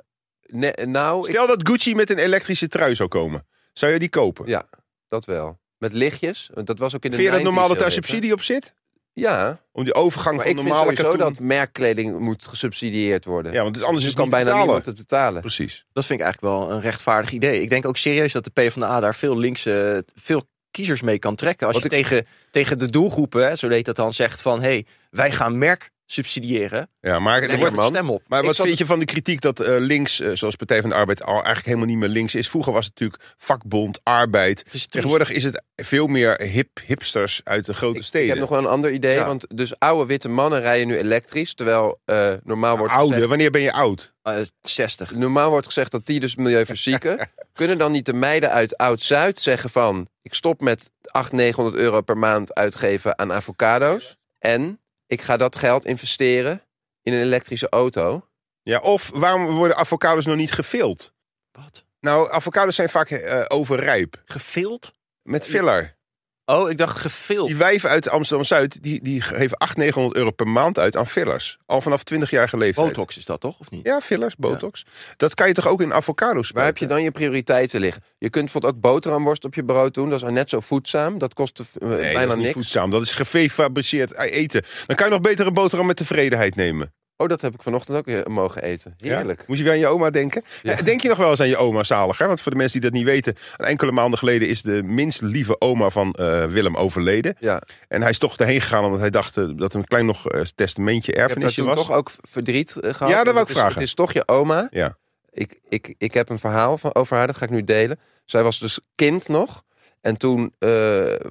Speaker 3: ne- nou, ik-
Speaker 2: Stel dat Gucci met een elektrische trui zou komen. Zou je die kopen?
Speaker 3: Ja, dat wel. Met lichtjes. want Dat was ook in de
Speaker 2: vind je dat
Speaker 3: 90's
Speaker 2: normaal dat
Speaker 3: heel
Speaker 2: daar
Speaker 3: hip, hè?
Speaker 2: subsidie op zit?
Speaker 3: Ja,
Speaker 2: Om die overgang
Speaker 3: maar
Speaker 2: van
Speaker 3: ik vind
Speaker 2: normale
Speaker 3: sowieso
Speaker 2: katoen...
Speaker 3: dat merkkleding moet gesubsidieerd worden.
Speaker 2: Ja, want het- anders is
Speaker 3: Dus
Speaker 2: het
Speaker 3: kan
Speaker 2: niet
Speaker 3: bijna
Speaker 2: betalen.
Speaker 3: niemand het betalen.
Speaker 2: Precies.
Speaker 4: Dat vind ik eigenlijk wel een rechtvaardig idee. Ik denk ook serieus dat de PvdA daar veel linkse, veel kiezers mee kan trekken. Als
Speaker 3: Wat
Speaker 4: je tegen, tegen de doelgroepen, hè, zo heet dat dan, zegt van... hé, hey, wij gaan merk subsidiëren.
Speaker 2: Ja, maar, er
Speaker 4: Leg
Speaker 2: wordt,
Speaker 4: er stem op.
Speaker 2: maar
Speaker 3: Ik
Speaker 2: wat
Speaker 3: zat-
Speaker 2: vind je van de kritiek dat eh, links, eh, zoals Partij van de Arbeid, al eigenlijk helemaal niet meer links is? Vroeger was het natuurlijk vakbond, arbeid.
Speaker 4: Het is triest.
Speaker 2: Tegenwoordig is het veel meer hip, hipsters uit de grote
Speaker 3: Ik, ik
Speaker 2: steden.
Speaker 3: heb nog wel een ander idee.
Speaker 4: Ja.
Speaker 3: Want dus oude witte mannen rijden nu elektrisch. Terwijl eh, normaal, wordt
Speaker 2: Nou, Oude,
Speaker 3: gezegd,
Speaker 2: wanneer ben je oud?
Speaker 4: Eh, 60.
Speaker 3: normaal wordt gezegd dat die dus milieu verzieken. Kunnen dan niet de meiden uit Oud-Zuid zeggen van... ik stop met 800, 900 euro per maand uitgeven aan avocado's. En ik ga dat geld investeren in een elektrische auto.
Speaker 2: Ja, of waarom worden avocados nog niet gefild?
Speaker 4: Wat?
Speaker 2: Nou, avocados zijn vaak eh, overrijp.
Speaker 4: Gefild?
Speaker 2: Met filler.
Speaker 4: Oh, ik dacht gefild.
Speaker 2: Die wijven uit Amsterdam-Zuid, die, die geven 800, 900 euro per maand uit aan fillers. Al vanaf 20 jaar geleefd.
Speaker 4: Botox is dat toch, of niet?
Speaker 2: Ja, fillers, botox. Dat kan je toch ook in avocados
Speaker 3: Waar
Speaker 2: spuiten?
Speaker 3: heb je dan je prioriteiten liggen? Je kunt bijvoorbeeld ook boterhamworst op je brood doen. Dat is net zo voedzaam. Dat kost eh,
Speaker 2: Nee, dat
Speaker 3: bijna
Speaker 2: is niet
Speaker 3: niks.
Speaker 2: voedzaam. Dat is gefabriceerd eten. Dan kan je nog beter een boterham met tevredenheid nemen.
Speaker 3: Oh, dat heb ik vanochtend ook eh, mogen eten.
Speaker 2: Ja?
Speaker 3: Heerlijk.
Speaker 2: Moet je weer aan je oma denken?
Speaker 3: Ja.
Speaker 2: Eh, Denk je nog wel eens aan je oma zaliger? Want voor de mensen die dat niet weten, een enkele maanden geleden is de minst lieve oma van eh, Willem overleden.
Speaker 3: Ja.
Speaker 2: En hij is toch erheen gegaan omdat hij dacht eh, dat een klein nog eh, testamentje
Speaker 3: Ik heb daar
Speaker 2: erfenisje
Speaker 3: toen
Speaker 2: was.
Speaker 3: toch ook verdriet eh, gehad.
Speaker 2: Ja, dat
Speaker 3: En
Speaker 2: wou
Speaker 3: het
Speaker 2: ik
Speaker 3: is-
Speaker 2: vragen.
Speaker 3: Het is toch je oma.
Speaker 2: Ja.
Speaker 3: Ik, ik, ik heb een verhaal van, over haar, dat ga ik nu delen. Zij was dus kind nog. En toen eh,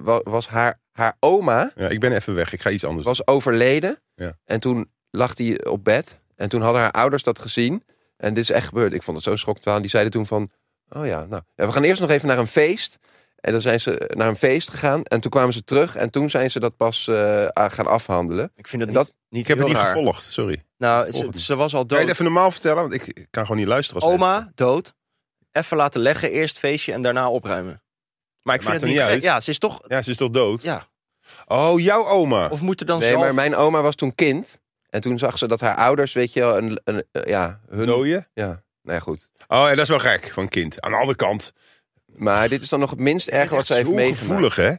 Speaker 3: wa- was haar, haar oma
Speaker 2: Ja, ik ben even weg. Ik ga iets anders
Speaker 3: was overleden.
Speaker 2: Ja.
Speaker 3: En toen lag hij op bed. En toen hadden haar ouders dat gezien. En dit is echt gebeurd. Ik vond het zo schokkend. verhaal. En die zeiden toen van, oh ja, nou. Ja, we gaan eerst nog even naar een feest. En dan zijn ze naar een feest gegaan. En toen kwamen ze terug. En toen zijn ze dat pas eh, aan- gaan afhandelen.
Speaker 4: Ik vind dat,
Speaker 3: En dat-
Speaker 4: niet, niet
Speaker 2: Ik heb het
Speaker 4: heel
Speaker 2: niet
Speaker 4: raar.
Speaker 2: gevolgd, sorry.
Speaker 4: Nou,
Speaker 2: gevolgd.
Speaker 4: ze, ze was
Speaker 2: Kan
Speaker 4: al
Speaker 2: je
Speaker 4: dood.
Speaker 2: het even normaal vertellen? Want ik ik kan gewoon niet luisteren. Als
Speaker 4: Oma, dood. Even laten leggen, eerst feestje en daarna opruimen. Maar
Speaker 2: maakt
Speaker 4: ik
Speaker 2: er
Speaker 4: vind het niet
Speaker 2: niet
Speaker 4: gek.
Speaker 2: uit.
Speaker 4: Ja, ze is toch...
Speaker 2: Ja, ze is toch dood?
Speaker 4: Ja.
Speaker 2: Oh, jouw oma.
Speaker 4: Of moet er dan
Speaker 3: Nee,
Speaker 4: zelf...
Speaker 3: maar mijn oma was toen kind. En toen zag ze dat haar ouders, weet je wel, een, een, eh, ja, hun...
Speaker 2: Dooie?
Speaker 3: Ja, nou ja, goed.
Speaker 2: Oh, ja, dat is wel gek van kind. Aan de andere kant.
Speaker 3: Maar dit is dan nog het minst erg wat
Speaker 2: echt
Speaker 3: ze heeft
Speaker 2: zo
Speaker 3: meegemaakt.
Speaker 2: gevoelig, hè?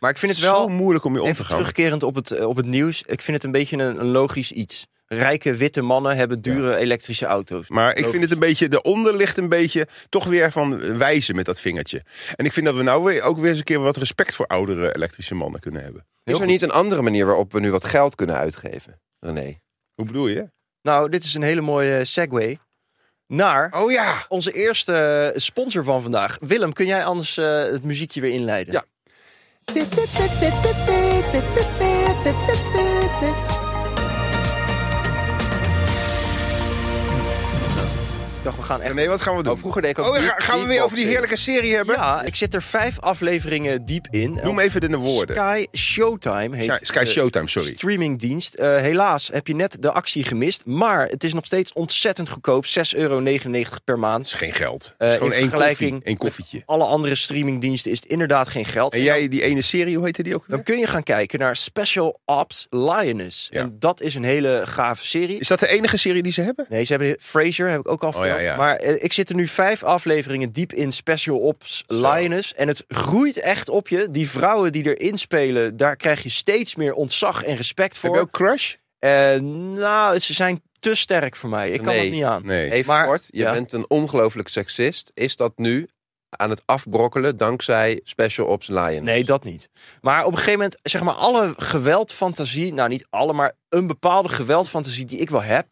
Speaker 4: Maar ik vind het
Speaker 2: Zo
Speaker 4: wel...
Speaker 2: moeilijk om je om te
Speaker 4: Even
Speaker 2: gaan.
Speaker 4: terugkerend op het, eh, op het nieuws. Ik vind het een beetje een, een logisch iets. Rijke witte mannen hebben dure elektrische auto's.
Speaker 2: Maar ik
Speaker 4: Logisch.
Speaker 2: vind het een beetje, daaronder ligt een beetje toch weer van wijzen met dat vingertje. En ik vind dat we nou weer, ook weer eens een keer wat respect voor oudere elektrische mannen kunnen hebben.
Speaker 3: Is er niet een andere manier waarop we nu wat geld kunnen uitgeven? René.
Speaker 2: Hoe bedoel je?
Speaker 4: Nou, dit is een hele mooie segue naar
Speaker 2: Oh ja!
Speaker 4: onze eerste sponsor van vandaag. Willem, kun jij anders eh, het muziekje weer inleiden?
Speaker 3: Ja.
Speaker 4: Ik dacht, we gaan echt...
Speaker 2: Nee, wat gaan we doen?
Speaker 3: Oh, vroeger deed ik ook
Speaker 2: Oh, ja,
Speaker 3: beat-
Speaker 2: ga- gaan we weer over die
Speaker 3: beatboxing.
Speaker 2: heerlijke serie hebben?
Speaker 4: Ja, ik zit er vijf afleveringen diep in.
Speaker 2: Noem even de woorden.
Speaker 4: Sky Showtime heet
Speaker 2: Sky, Sky
Speaker 4: de
Speaker 2: Showtime, sorry.
Speaker 4: streamingdienst. Eh, helaas heb je net de actie gemist. Maar het is nog steeds ontzettend goedkoop. 6,99 euro per maand.
Speaker 2: is geen geld. Het
Speaker 4: Eh,
Speaker 2: is
Speaker 4: in
Speaker 2: gewoon één
Speaker 4: vergelijking
Speaker 2: koffie, één koffietje.
Speaker 4: met alle andere streamingdiensten is het inderdaad geen geld.
Speaker 2: En jij, die ene serie, hoe heette die ook?
Speaker 4: Dan
Speaker 2: weer?
Speaker 4: kun je gaan kijken naar Special Ops Lioness.
Speaker 2: Ja.
Speaker 4: En dat is een hele gave serie.
Speaker 2: Is dat de enige serie die ze hebben?
Speaker 4: Nee, ze hebben Fraser, heb ik ook al verteld.
Speaker 2: Oh, ja, ja.
Speaker 4: Maar eh, ik zit er nu vijf afleveringen diep in Special Ops Lioness. En het groeit echt op je. Die vrouwen die erin spelen, daar krijg je steeds meer ontzag en respect
Speaker 2: Heb
Speaker 4: voor.
Speaker 2: je ook Crush?
Speaker 4: Eh, nou, ze zijn te sterk voor mij. Ik kan
Speaker 3: Nee.
Speaker 4: dat niet aan.
Speaker 2: Nee.
Speaker 3: Even
Speaker 4: Maar-
Speaker 3: kort, je
Speaker 4: ja.
Speaker 3: bent een ongelooflijk seksist. Is dat nu aan het afbrokkelen dankzij Special Ops Lion?
Speaker 4: Nee, dat niet. Maar op een gegeven moment, zeg maar, alle geweldfantasie, nou niet alle, maar een bepaalde geweldfantasie die ik wel heb,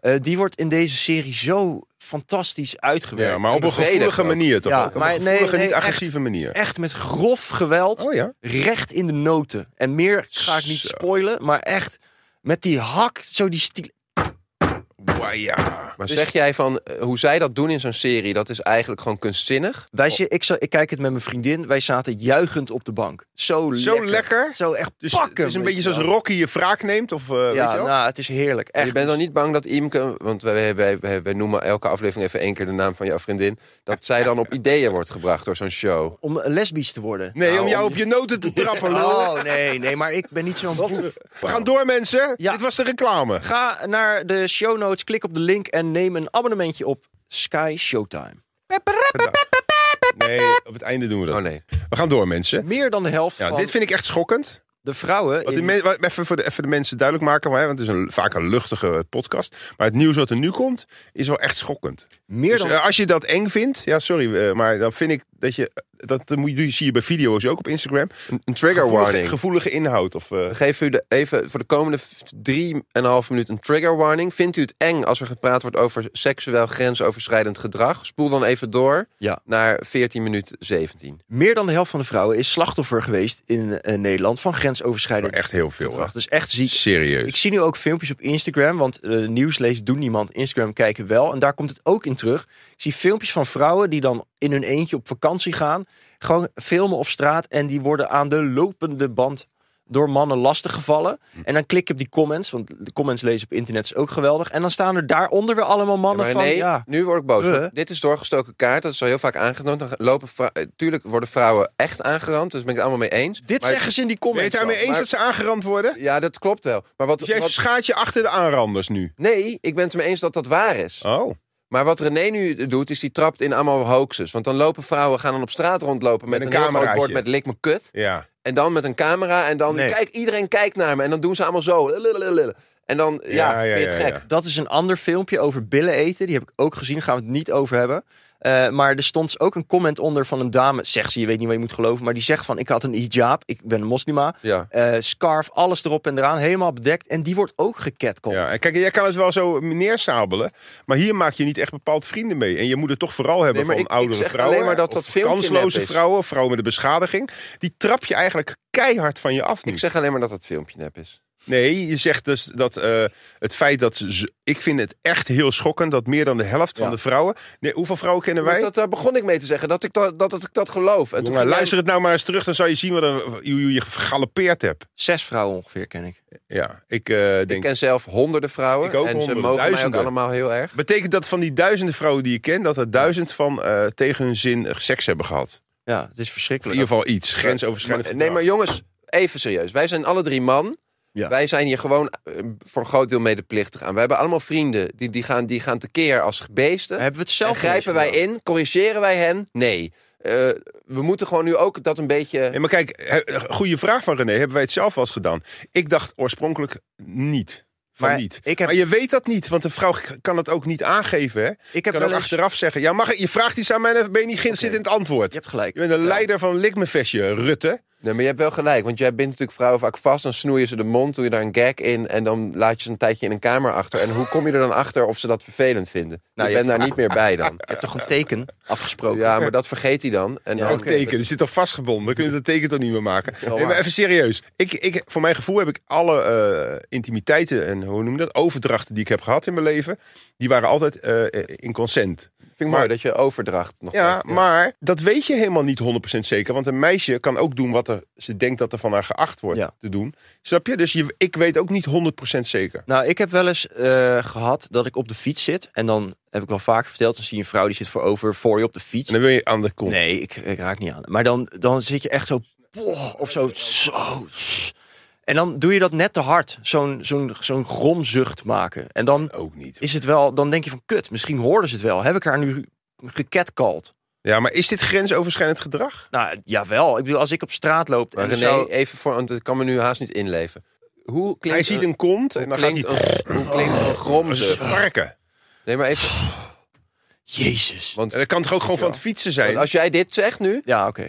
Speaker 4: eh, die wordt in deze serie zo fantastisch uitgewerkt.
Speaker 2: Ja, maar op een
Speaker 3: Bevredigd
Speaker 2: gevoelige
Speaker 3: ook.
Speaker 2: manier toch?
Speaker 4: Ja,
Speaker 2: ook? Op
Speaker 4: maar
Speaker 2: een
Speaker 4: nee,
Speaker 2: gevoelige,
Speaker 4: nee,
Speaker 2: niet
Speaker 4: echt.
Speaker 2: agressieve manier.
Speaker 4: Echt met grof geweld,
Speaker 2: Oh ja?
Speaker 4: recht in de noten. En meer ga ik niet
Speaker 2: Zo.
Speaker 4: spoilen, maar echt met die hak, zo die stiel.
Speaker 2: Wow, ja.
Speaker 3: Maar zeg jij van eh, hoe zij dat doen in zo'n serie, dat is eigenlijk gewoon kunstzinnig.
Speaker 4: Wij,
Speaker 2: Oh.
Speaker 4: zi- ik, za- ik kijk het met mijn vriendin, wij zaten juichend op de bank. Zo,
Speaker 2: Zo lekker?
Speaker 4: Zo echt
Speaker 2: Dus
Speaker 4: pakken.
Speaker 2: het is een
Speaker 4: weet
Speaker 2: beetje
Speaker 4: je
Speaker 2: zoals
Speaker 4: wel.
Speaker 2: Rocky je wraak neemt? Of, eh, weet je
Speaker 4: Ja,
Speaker 2: wel?
Speaker 4: nou, het is heerlijk. Echt. dus
Speaker 3: je bent dan niet bang dat Imke, want wij, wij, wij, wij noemen elke aflevering even één keer de naam van jouw vriendin, dat zij dan op ideeën wordt gebracht door zo'n show.
Speaker 4: Om lesbisch te worden.
Speaker 2: Nee,
Speaker 3: Nou,
Speaker 2: om jou
Speaker 3: om-
Speaker 2: op je noten te trappen. lul.
Speaker 4: Oh, nee, nee, maar ik ben niet zo'n boef.
Speaker 2: We gaan door, mensen.
Speaker 4: Ja.
Speaker 2: Dit was de reclame.
Speaker 4: Ga naar de show notes, klik op de link en neem een abonnementje op Sky Showtime.
Speaker 2: Nee, op het einde doen we dat.
Speaker 3: Oh nee.
Speaker 2: We gaan door, mensen.
Speaker 4: Meer dan de helft
Speaker 2: Ja,
Speaker 4: van
Speaker 2: dit vind ik echt schokkend.
Speaker 4: de vrouwen...
Speaker 2: Wat die
Speaker 4: in-
Speaker 2: men- wat- even voor de, even de mensen duidelijk maken, maar, hè, want het is een, vaak een luchtige eh, podcast. Maar het nieuws wat er nu komt, is wel echt schokkend.
Speaker 4: meer
Speaker 2: Dus
Speaker 4: dan,
Speaker 2: eh, als je dat eng vindt, ja, sorry, eh, maar dan vind ik dat je. Dat moet je- doe je- zie je bij video's ook op Instagram.
Speaker 3: Een, een trigger
Speaker 2: Gevoelige,
Speaker 3: warning.
Speaker 2: gevoelige inhoud. Of, eh,
Speaker 3: We geven u de, even voor de komende v- drie en een half minuut een trigger warning. Vindt u het eng als er gepraat wordt over seksueel grensoverschrijdend gedrag? Spoel dan even door
Speaker 4: Ja.
Speaker 3: naar 14 minuten 17.
Speaker 4: meer dan de helft van de vrouwen is slachtoffer geweest in eh, Nederland van grensoverschrijdend
Speaker 2: echt heel veel. hè.
Speaker 4: gedrag. Dus echt ziek.
Speaker 2: Serieus.
Speaker 4: Ik zie nu ook filmpjes op Instagram, want eh, nieuws lezen doet niemand. Instagram kijken wel. En daar komt het ook in terug. Ik zie filmpjes van vrouwen die dan in hun eentje op vakantie gaan. Gewoon filmen op straat en die worden aan de lopende band door mannen lastiggevallen. En dan klik ik op die comments, want de comments lezen op internet is ook geweldig. En dan staan er daaronder weer allemaal mannen
Speaker 3: Maar
Speaker 4: van...
Speaker 3: nee,
Speaker 4: Ja,
Speaker 3: nu word ik boos.
Speaker 4: Eh.
Speaker 3: want Dit is doorgestoken kaart. Dat is al heel vaak aangenomen. Dan lopen vrou- eh, Tuurlijk worden vrouwen echt aangerand. Dus ben ik het allemaal mee eens.
Speaker 4: dit
Speaker 3: Maar-
Speaker 4: zeggen ze in die
Speaker 2: Ben je
Speaker 4: comments.
Speaker 2: het daarmee
Speaker 4: dan.
Speaker 2: eens dat ze aangerand worden?
Speaker 3: Ja, dat klopt wel. Maar wat,
Speaker 2: Dus jij
Speaker 3: wat-
Speaker 2: schaadt je achter de aanranders nu.
Speaker 3: Nee, ik ben het ermee eens dat dat waar is.
Speaker 2: Oh.
Speaker 3: Maar wat René nu doet, is die trapt in allemaal hoaxes. Want dan lopen vrouwen, gaan dan op straat rondlopen met,
Speaker 2: Met een
Speaker 3: een, heel groot
Speaker 2: cameraatje.
Speaker 3: bord met lik me kut.
Speaker 2: Ja.
Speaker 3: En dan met een camera. En dan
Speaker 4: Nee.
Speaker 3: kijk, iedereen kijkt naar me. En dan doen ze allemaal zo. Lulululul. En dan, ja,
Speaker 2: Ja, ja,
Speaker 3: vind je het
Speaker 2: ja,
Speaker 3: gek.
Speaker 2: ja.
Speaker 4: Dat is een ander filmpje over billen eten. Die heb ik ook gezien, daar gaan we het niet over hebben. Eh, maar er stond ook een comment onder van een dame, zegt ze, je weet niet wat je moet geloven, maar die zegt van ik had een hijab, ik ben een moslima,
Speaker 3: Ja.
Speaker 4: eh, scarf, alles erop en eraan, helemaal bedekt. En die wordt ook gecatcalled.
Speaker 2: Ja, en kijk, jij kan het wel zo neersabelen, maar hier maak je niet echt bepaald vrienden mee. En je moet het toch vooral hebben
Speaker 3: Nee, maar
Speaker 2: van
Speaker 3: ik- ik
Speaker 2: oudere
Speaker 3: zeg
Speaker 2: vrouwen,
Speaker 3: alleen maar dat
Speaker 2: of
Speaker 3: dat filmpje
Speaker 2: kansloze
Speaker 3: nep is.
Speaker 2: vrouwen, vrouwen met een beschadiging. Die trap je eigenlijk keihard van je af nu.
Speaker 3: Ik zeg alleen maar dat dat filmpje nep is.
Speaker 2: Nee, je zegt dus dat eh, het feit dat ze... Ik vind het echt heel schokkend dat meer dan de helft
Speaker 4: Ja.
Speaker 2: van de vrouwen... Nee, hoeveel vrouwen kennen wij?
Speaker 3: Maar dat, daar begon ik mee te zeggen, dat ik dat, dat, dat ik dat geloof. En
Speaker 2: Jongen,
Speaker 3: toen ging jij-
Speaker 2: luister het nou maar eens terug, dan zal je zien wat een, hoe je je gegalopeerd hebt.
Speaker 4: Zes vrouwen ongeveer ken ik.
Speaker 2: Ja, ik eh,
Speaker 3: Ik
Speaker 2: denk...
Speaker 3: ken zelf honderden vrouwen.
Speaker 2: Ik ook
Speaker 3: en
Speaker 2: honderden,
Speaker 3: ze mogen mij
Speaker 2: duizenden.
Speaker 3: ook allemaal heel erg.
Speaker 2: Betekent dat van die duizenden vrouwen die je kent, dat er duizend van eh, tegen hun zin eh, seks hebben gehad?
Speaker 4: Ja, het is
Speaker 2: In
Speaker 4: verschrikkelijk.
Speaker 2: ieder geval iets, grensoverschrijdend.
Speaker 3: Maar- Nee, maar
Speaker 2: gedrag.
Speaker 3: jongens, even serieus. Wij zijn alle drie man.
Speaker 4: Ja.
Speaker 3: Wij zijn hier gewoon eh, voor een groot deel medeplichtig aan. We hebben allemaal vrienden die, die, gaan, die gaan tekeer als beesten.
Speaker 4: Daar hebben we het
Speaker 3: En
Speaker 4: zelf
Speaker 3: grijpen
Speaker 4: ineens
Speaker 3: wij in? Corrigeren wij hen? Nee. Eh, we moeten gewoon nu ook dat een beetje...
Speaker 2: Nee, maar kijk, he- eh, goede vraag van René. Hebben wij het zelf wel eens gedaan? Ik dacht oorspronkelijk niet. Van
Speaker 4: Maar
Speaker 2: niet.
Speaker 4: ik heb-
Speaker 2: Maar je weet dat niet, want de vrouw k- kan dat ook niet aangeven. Hè?
Speaker 4: Ik
Speaker 2: kan
Speaker 4: heb wel
Speaker 2: ook
Speaker 4: eens-
Speaker 2: achteraf zeggen. Ja, mag ik, je vraagt iets aan mij en ben je niet geen zit in het antwoord.
Speaker 4: Je hebt gelijk.
Speaker 2: Je bent een
Speaker 4: Ja.
Speaker 2: leider van Likmefestje, Rutte.
Speaker 3: Nee, maar je hebt wel gelijk. Want jij bindt natuurlijk vrouwen vaak vast. Dan snoeien ze de mond, doe je daar een gag in. En dan laat je ze een tijdje in een kamer achter. En hoe kom je er dan achter of ze dat vervelend vinden?
Speaker 4: Nou,
Speaker 3: ik
Speaker 4: je
Speaker 3: ben daar niet meer bij dan.
Speaker 4: Je hebt toch een teken afgesproken?
Speaker 3: Ja, maar dat vergeet hij dan. En dan
Speaker 2: Ook teken, die zit toch vastgebonden? Dan kun je dat teken toch niet meer maken? Nee, maar
Speaker 4: waar.
Speaker 2: even serieus. Ik, ik, voor mijn gevoel heb ik alle eh, intimiteiten en hoe noem je dat? Overdrachten die ik heb gehad in mijn leven, die waren altijd eh, in consent.
Speaker 3: Vind ik mooi
Speaker 2: Maar-
Speaker 3: dat je overdracht nog
Speaker 2: Ja,
Speaker 3: even-
Speaker 2: maar dat weet je helemaal niet 100% zeker. Want een meisje kan ook doen wat er, ze denkt dat er van haar geacht wordt
Speaker 4: Ja.
Speaker 2: te doen. Snap je? Dus je, ik weet ook niet 100% zeker.
Speaker 4: Nou, ik heb wel eens eh, gehad dat ik op de fiets zit. En dan heb ik wel vaker verteld, dan zie je een vrouw die zit voorover voor je op de fiets.
Speaker 2: En dan wil je aan de kont.
Speaker 4: Nee, ik, ik raak niet aan. Maar dan, dan zit je echt zo... poh, of zo... zo s- en dan doe je dat net te hard. Zo'n zo'n zo'n gromzucht maken. En dan
Speaker 2: Ook niet.
Speaker 4: is het wel... Dan denk je van, kut, misschien hoorden ze het wel. Heb ik haar nu gecatcalled?
Speaker 2: Ja, maar is dit grensoverschrijdend gedrag?
Speaker 4: Nou, jawel. Ik bedoel, als ik op straat loop...
Speaker 3: Maar
Speaker 4: en er
Speaker 3: René,
Speaker 4: zou-
Speaker 3: even voor, want het kan me nu haast niet inleven. Hoe klinkt
Speaker 2: Hij ziet een kont en
Speaker 3: hoe
Speaker 2: dan gaat hij... Oh.
Speaker 3: klinkt een, hoe klinkt een
Speaker 2: Ze
Speaker 3: gromzucht?
Speaker 2: varken.
Speaker 3: Nee, maar even,
Speaker 4: Jezus.
Speaker 3: want,
Speaker 2: En dat kan toch ook gewoon van het fietsen zijn?
Speaker 3: want als jij dit zegt nu,
Speaker 4: Ja, oké.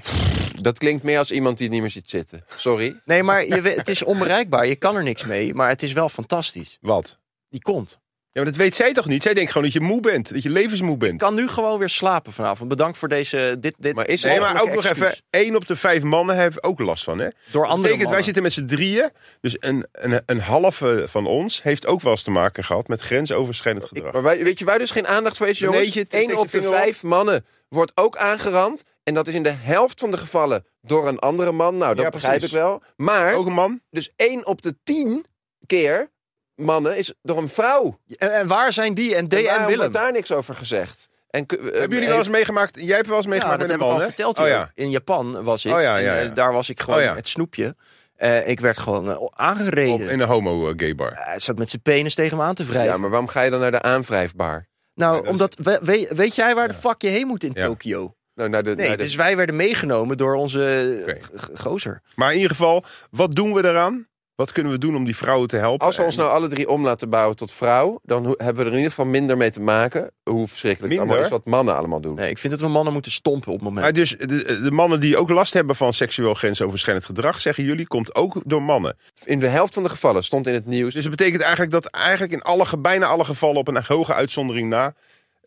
Speaker 3: dat klinkt meer als iemand die het niet meer ziet zitten. Sorry.
Speaker 4: Nee, maar je, weet- het is onbereikbaar. Je kan er niks mee. Maar het is wel fantastisch.
Speaker 2: Wat?
Speaker 4: Die komt.
Speaker 2: Ja, maar dat weet zij toch niet? Zij denkt gewoon dat je moe bent. Dat je levensmoe bent.
Speaker 4: Ik kan nu gewoon weer slapen vanavond. Bedankt voor deze... Dit, dit
Speaker 3: Maar is-
Speaker 2: Nee, maar ook
Speaker 4: mogelijke
Speaker 2: nog
Speaker 4: excuus.
Speaker 2: even, één op de vijf mannen heeft ook last van, hè?
Speaker 4: Door andere
Speaker 2: Betekent, wij
Speaker 4: mannen.
Speaker 2: zitten met z'n drieën, dus een, een, een halve van ons heeft ook wel eens te maken gehad met grensoverschrijdend gedrag.
Speaker 3: Maar wij, weet je waar dus geen aandacht voor is, jongens?
Speaker 2: Renéetje, het is
Speaker 3: Eén
Speaker 2: niks
Speaker 3: op
Speaker 2: te
Speaker 3: de
Speaker 2: vinden, hoor.
Speaker 3: vijf mannen wordt ook aangerand. En dat is in de helft van de gevallen door een andere man. Nou, dat
Speaker 2: Ja,
Speaker 3: begrijp ik
Speaker 2: precies.
Speaker 3: wel. Maar
Speaker 2: ook een man?
Speaker 3: dus één op de tien keer mannen is door een vrouw.
Speaker 4: En, en waar zijn die en D
Speaker 3: en
Speaker 4: en
Speaker 3: waarom
Speaker 4: Willem?
Speaker 3: wordt daar niks over gezegd? En, ku- eh,
Speaker 2: Hebben jullie
Speaker 3: heeft-
Speaker 2: wel eens meegemaakt? Jij hebt wel eens
Speaker 4: Ja,
Speaker 2: meegemaakt
Speaker 4: dat
Speaker 2: met
Speaker 4: heb
Speaker 2: een man,
Speaker 4: ik al
Speaker 2: hè?
Speaker 4: verteld.
Speaker 2: Oh
Speaker 4: hier.
Speaker 2: ja.
Speaker 4: In Japan was ik.
Speaker 2: Oh ja,
Speaker 4: en,
Speaker 2: ja,
Speaker 4: eh,
Speaker 2: ja.
Speaker 4: daar was ik gewoon
Speaker 2: Oh ja.
Speaker 4: het snoepje. Eh, ik werd gewoon eh, aangereden.
Speaker 2: Op- in een homo-gay bar.
Speaker 4: Eh, Hij zat met zijn penis tegen me aan te wrijven.
Speaker 3: eh, Ja, maar waarom ga je dan naar de aanwrijfbaar?
Speaker 4: nou,
Speaker 2: dat is-
Speaker 4: omdat we- we- weet jij waar de fuck je heen moet in
Speaker 2: Ja.
Speaker 4: Tokio?
Speaker 3: Nou, naar de,
Speaker 4: Nee,
Speaker 3: naar de-
Speaker 4: dus wij werden meegenomen door onze eh,
Speaker 2: Oké.
Speaker 4: g- g- gozer.
Speaker 2: Maar in ieder geval, wat doen we daaraan? Wat kunnen we doen om die vrouwen te helpen?
Speaker 3: Als we ons
Speaker 2: En-
Speaker 3: nou alle drie om laten bouwen tot vrouw, dan ho- hebben we er in ieder geval minder mee te maken. Hoe verschrikkelijk het
Speaker 2: Minder?
Speaker 3: allemaal is wat mannen allemaal doen.
Speaker 4: Nee, ik vind dat we mannen moeten stompen op het moment.
Speaker 2: Maar dus de, de mannen die ook last hebben van seksueel grensoverschrijdend gedrag, zeggen jullie, komt ook door mannen.
Speaker 3: In de helft van de gevallen stond in het nieuws.
Speaker 2: Dus dat betekent eigenlijk dat eigenlijk in alle, ge- bijna alle gevallen, op een hoge uitzondering na,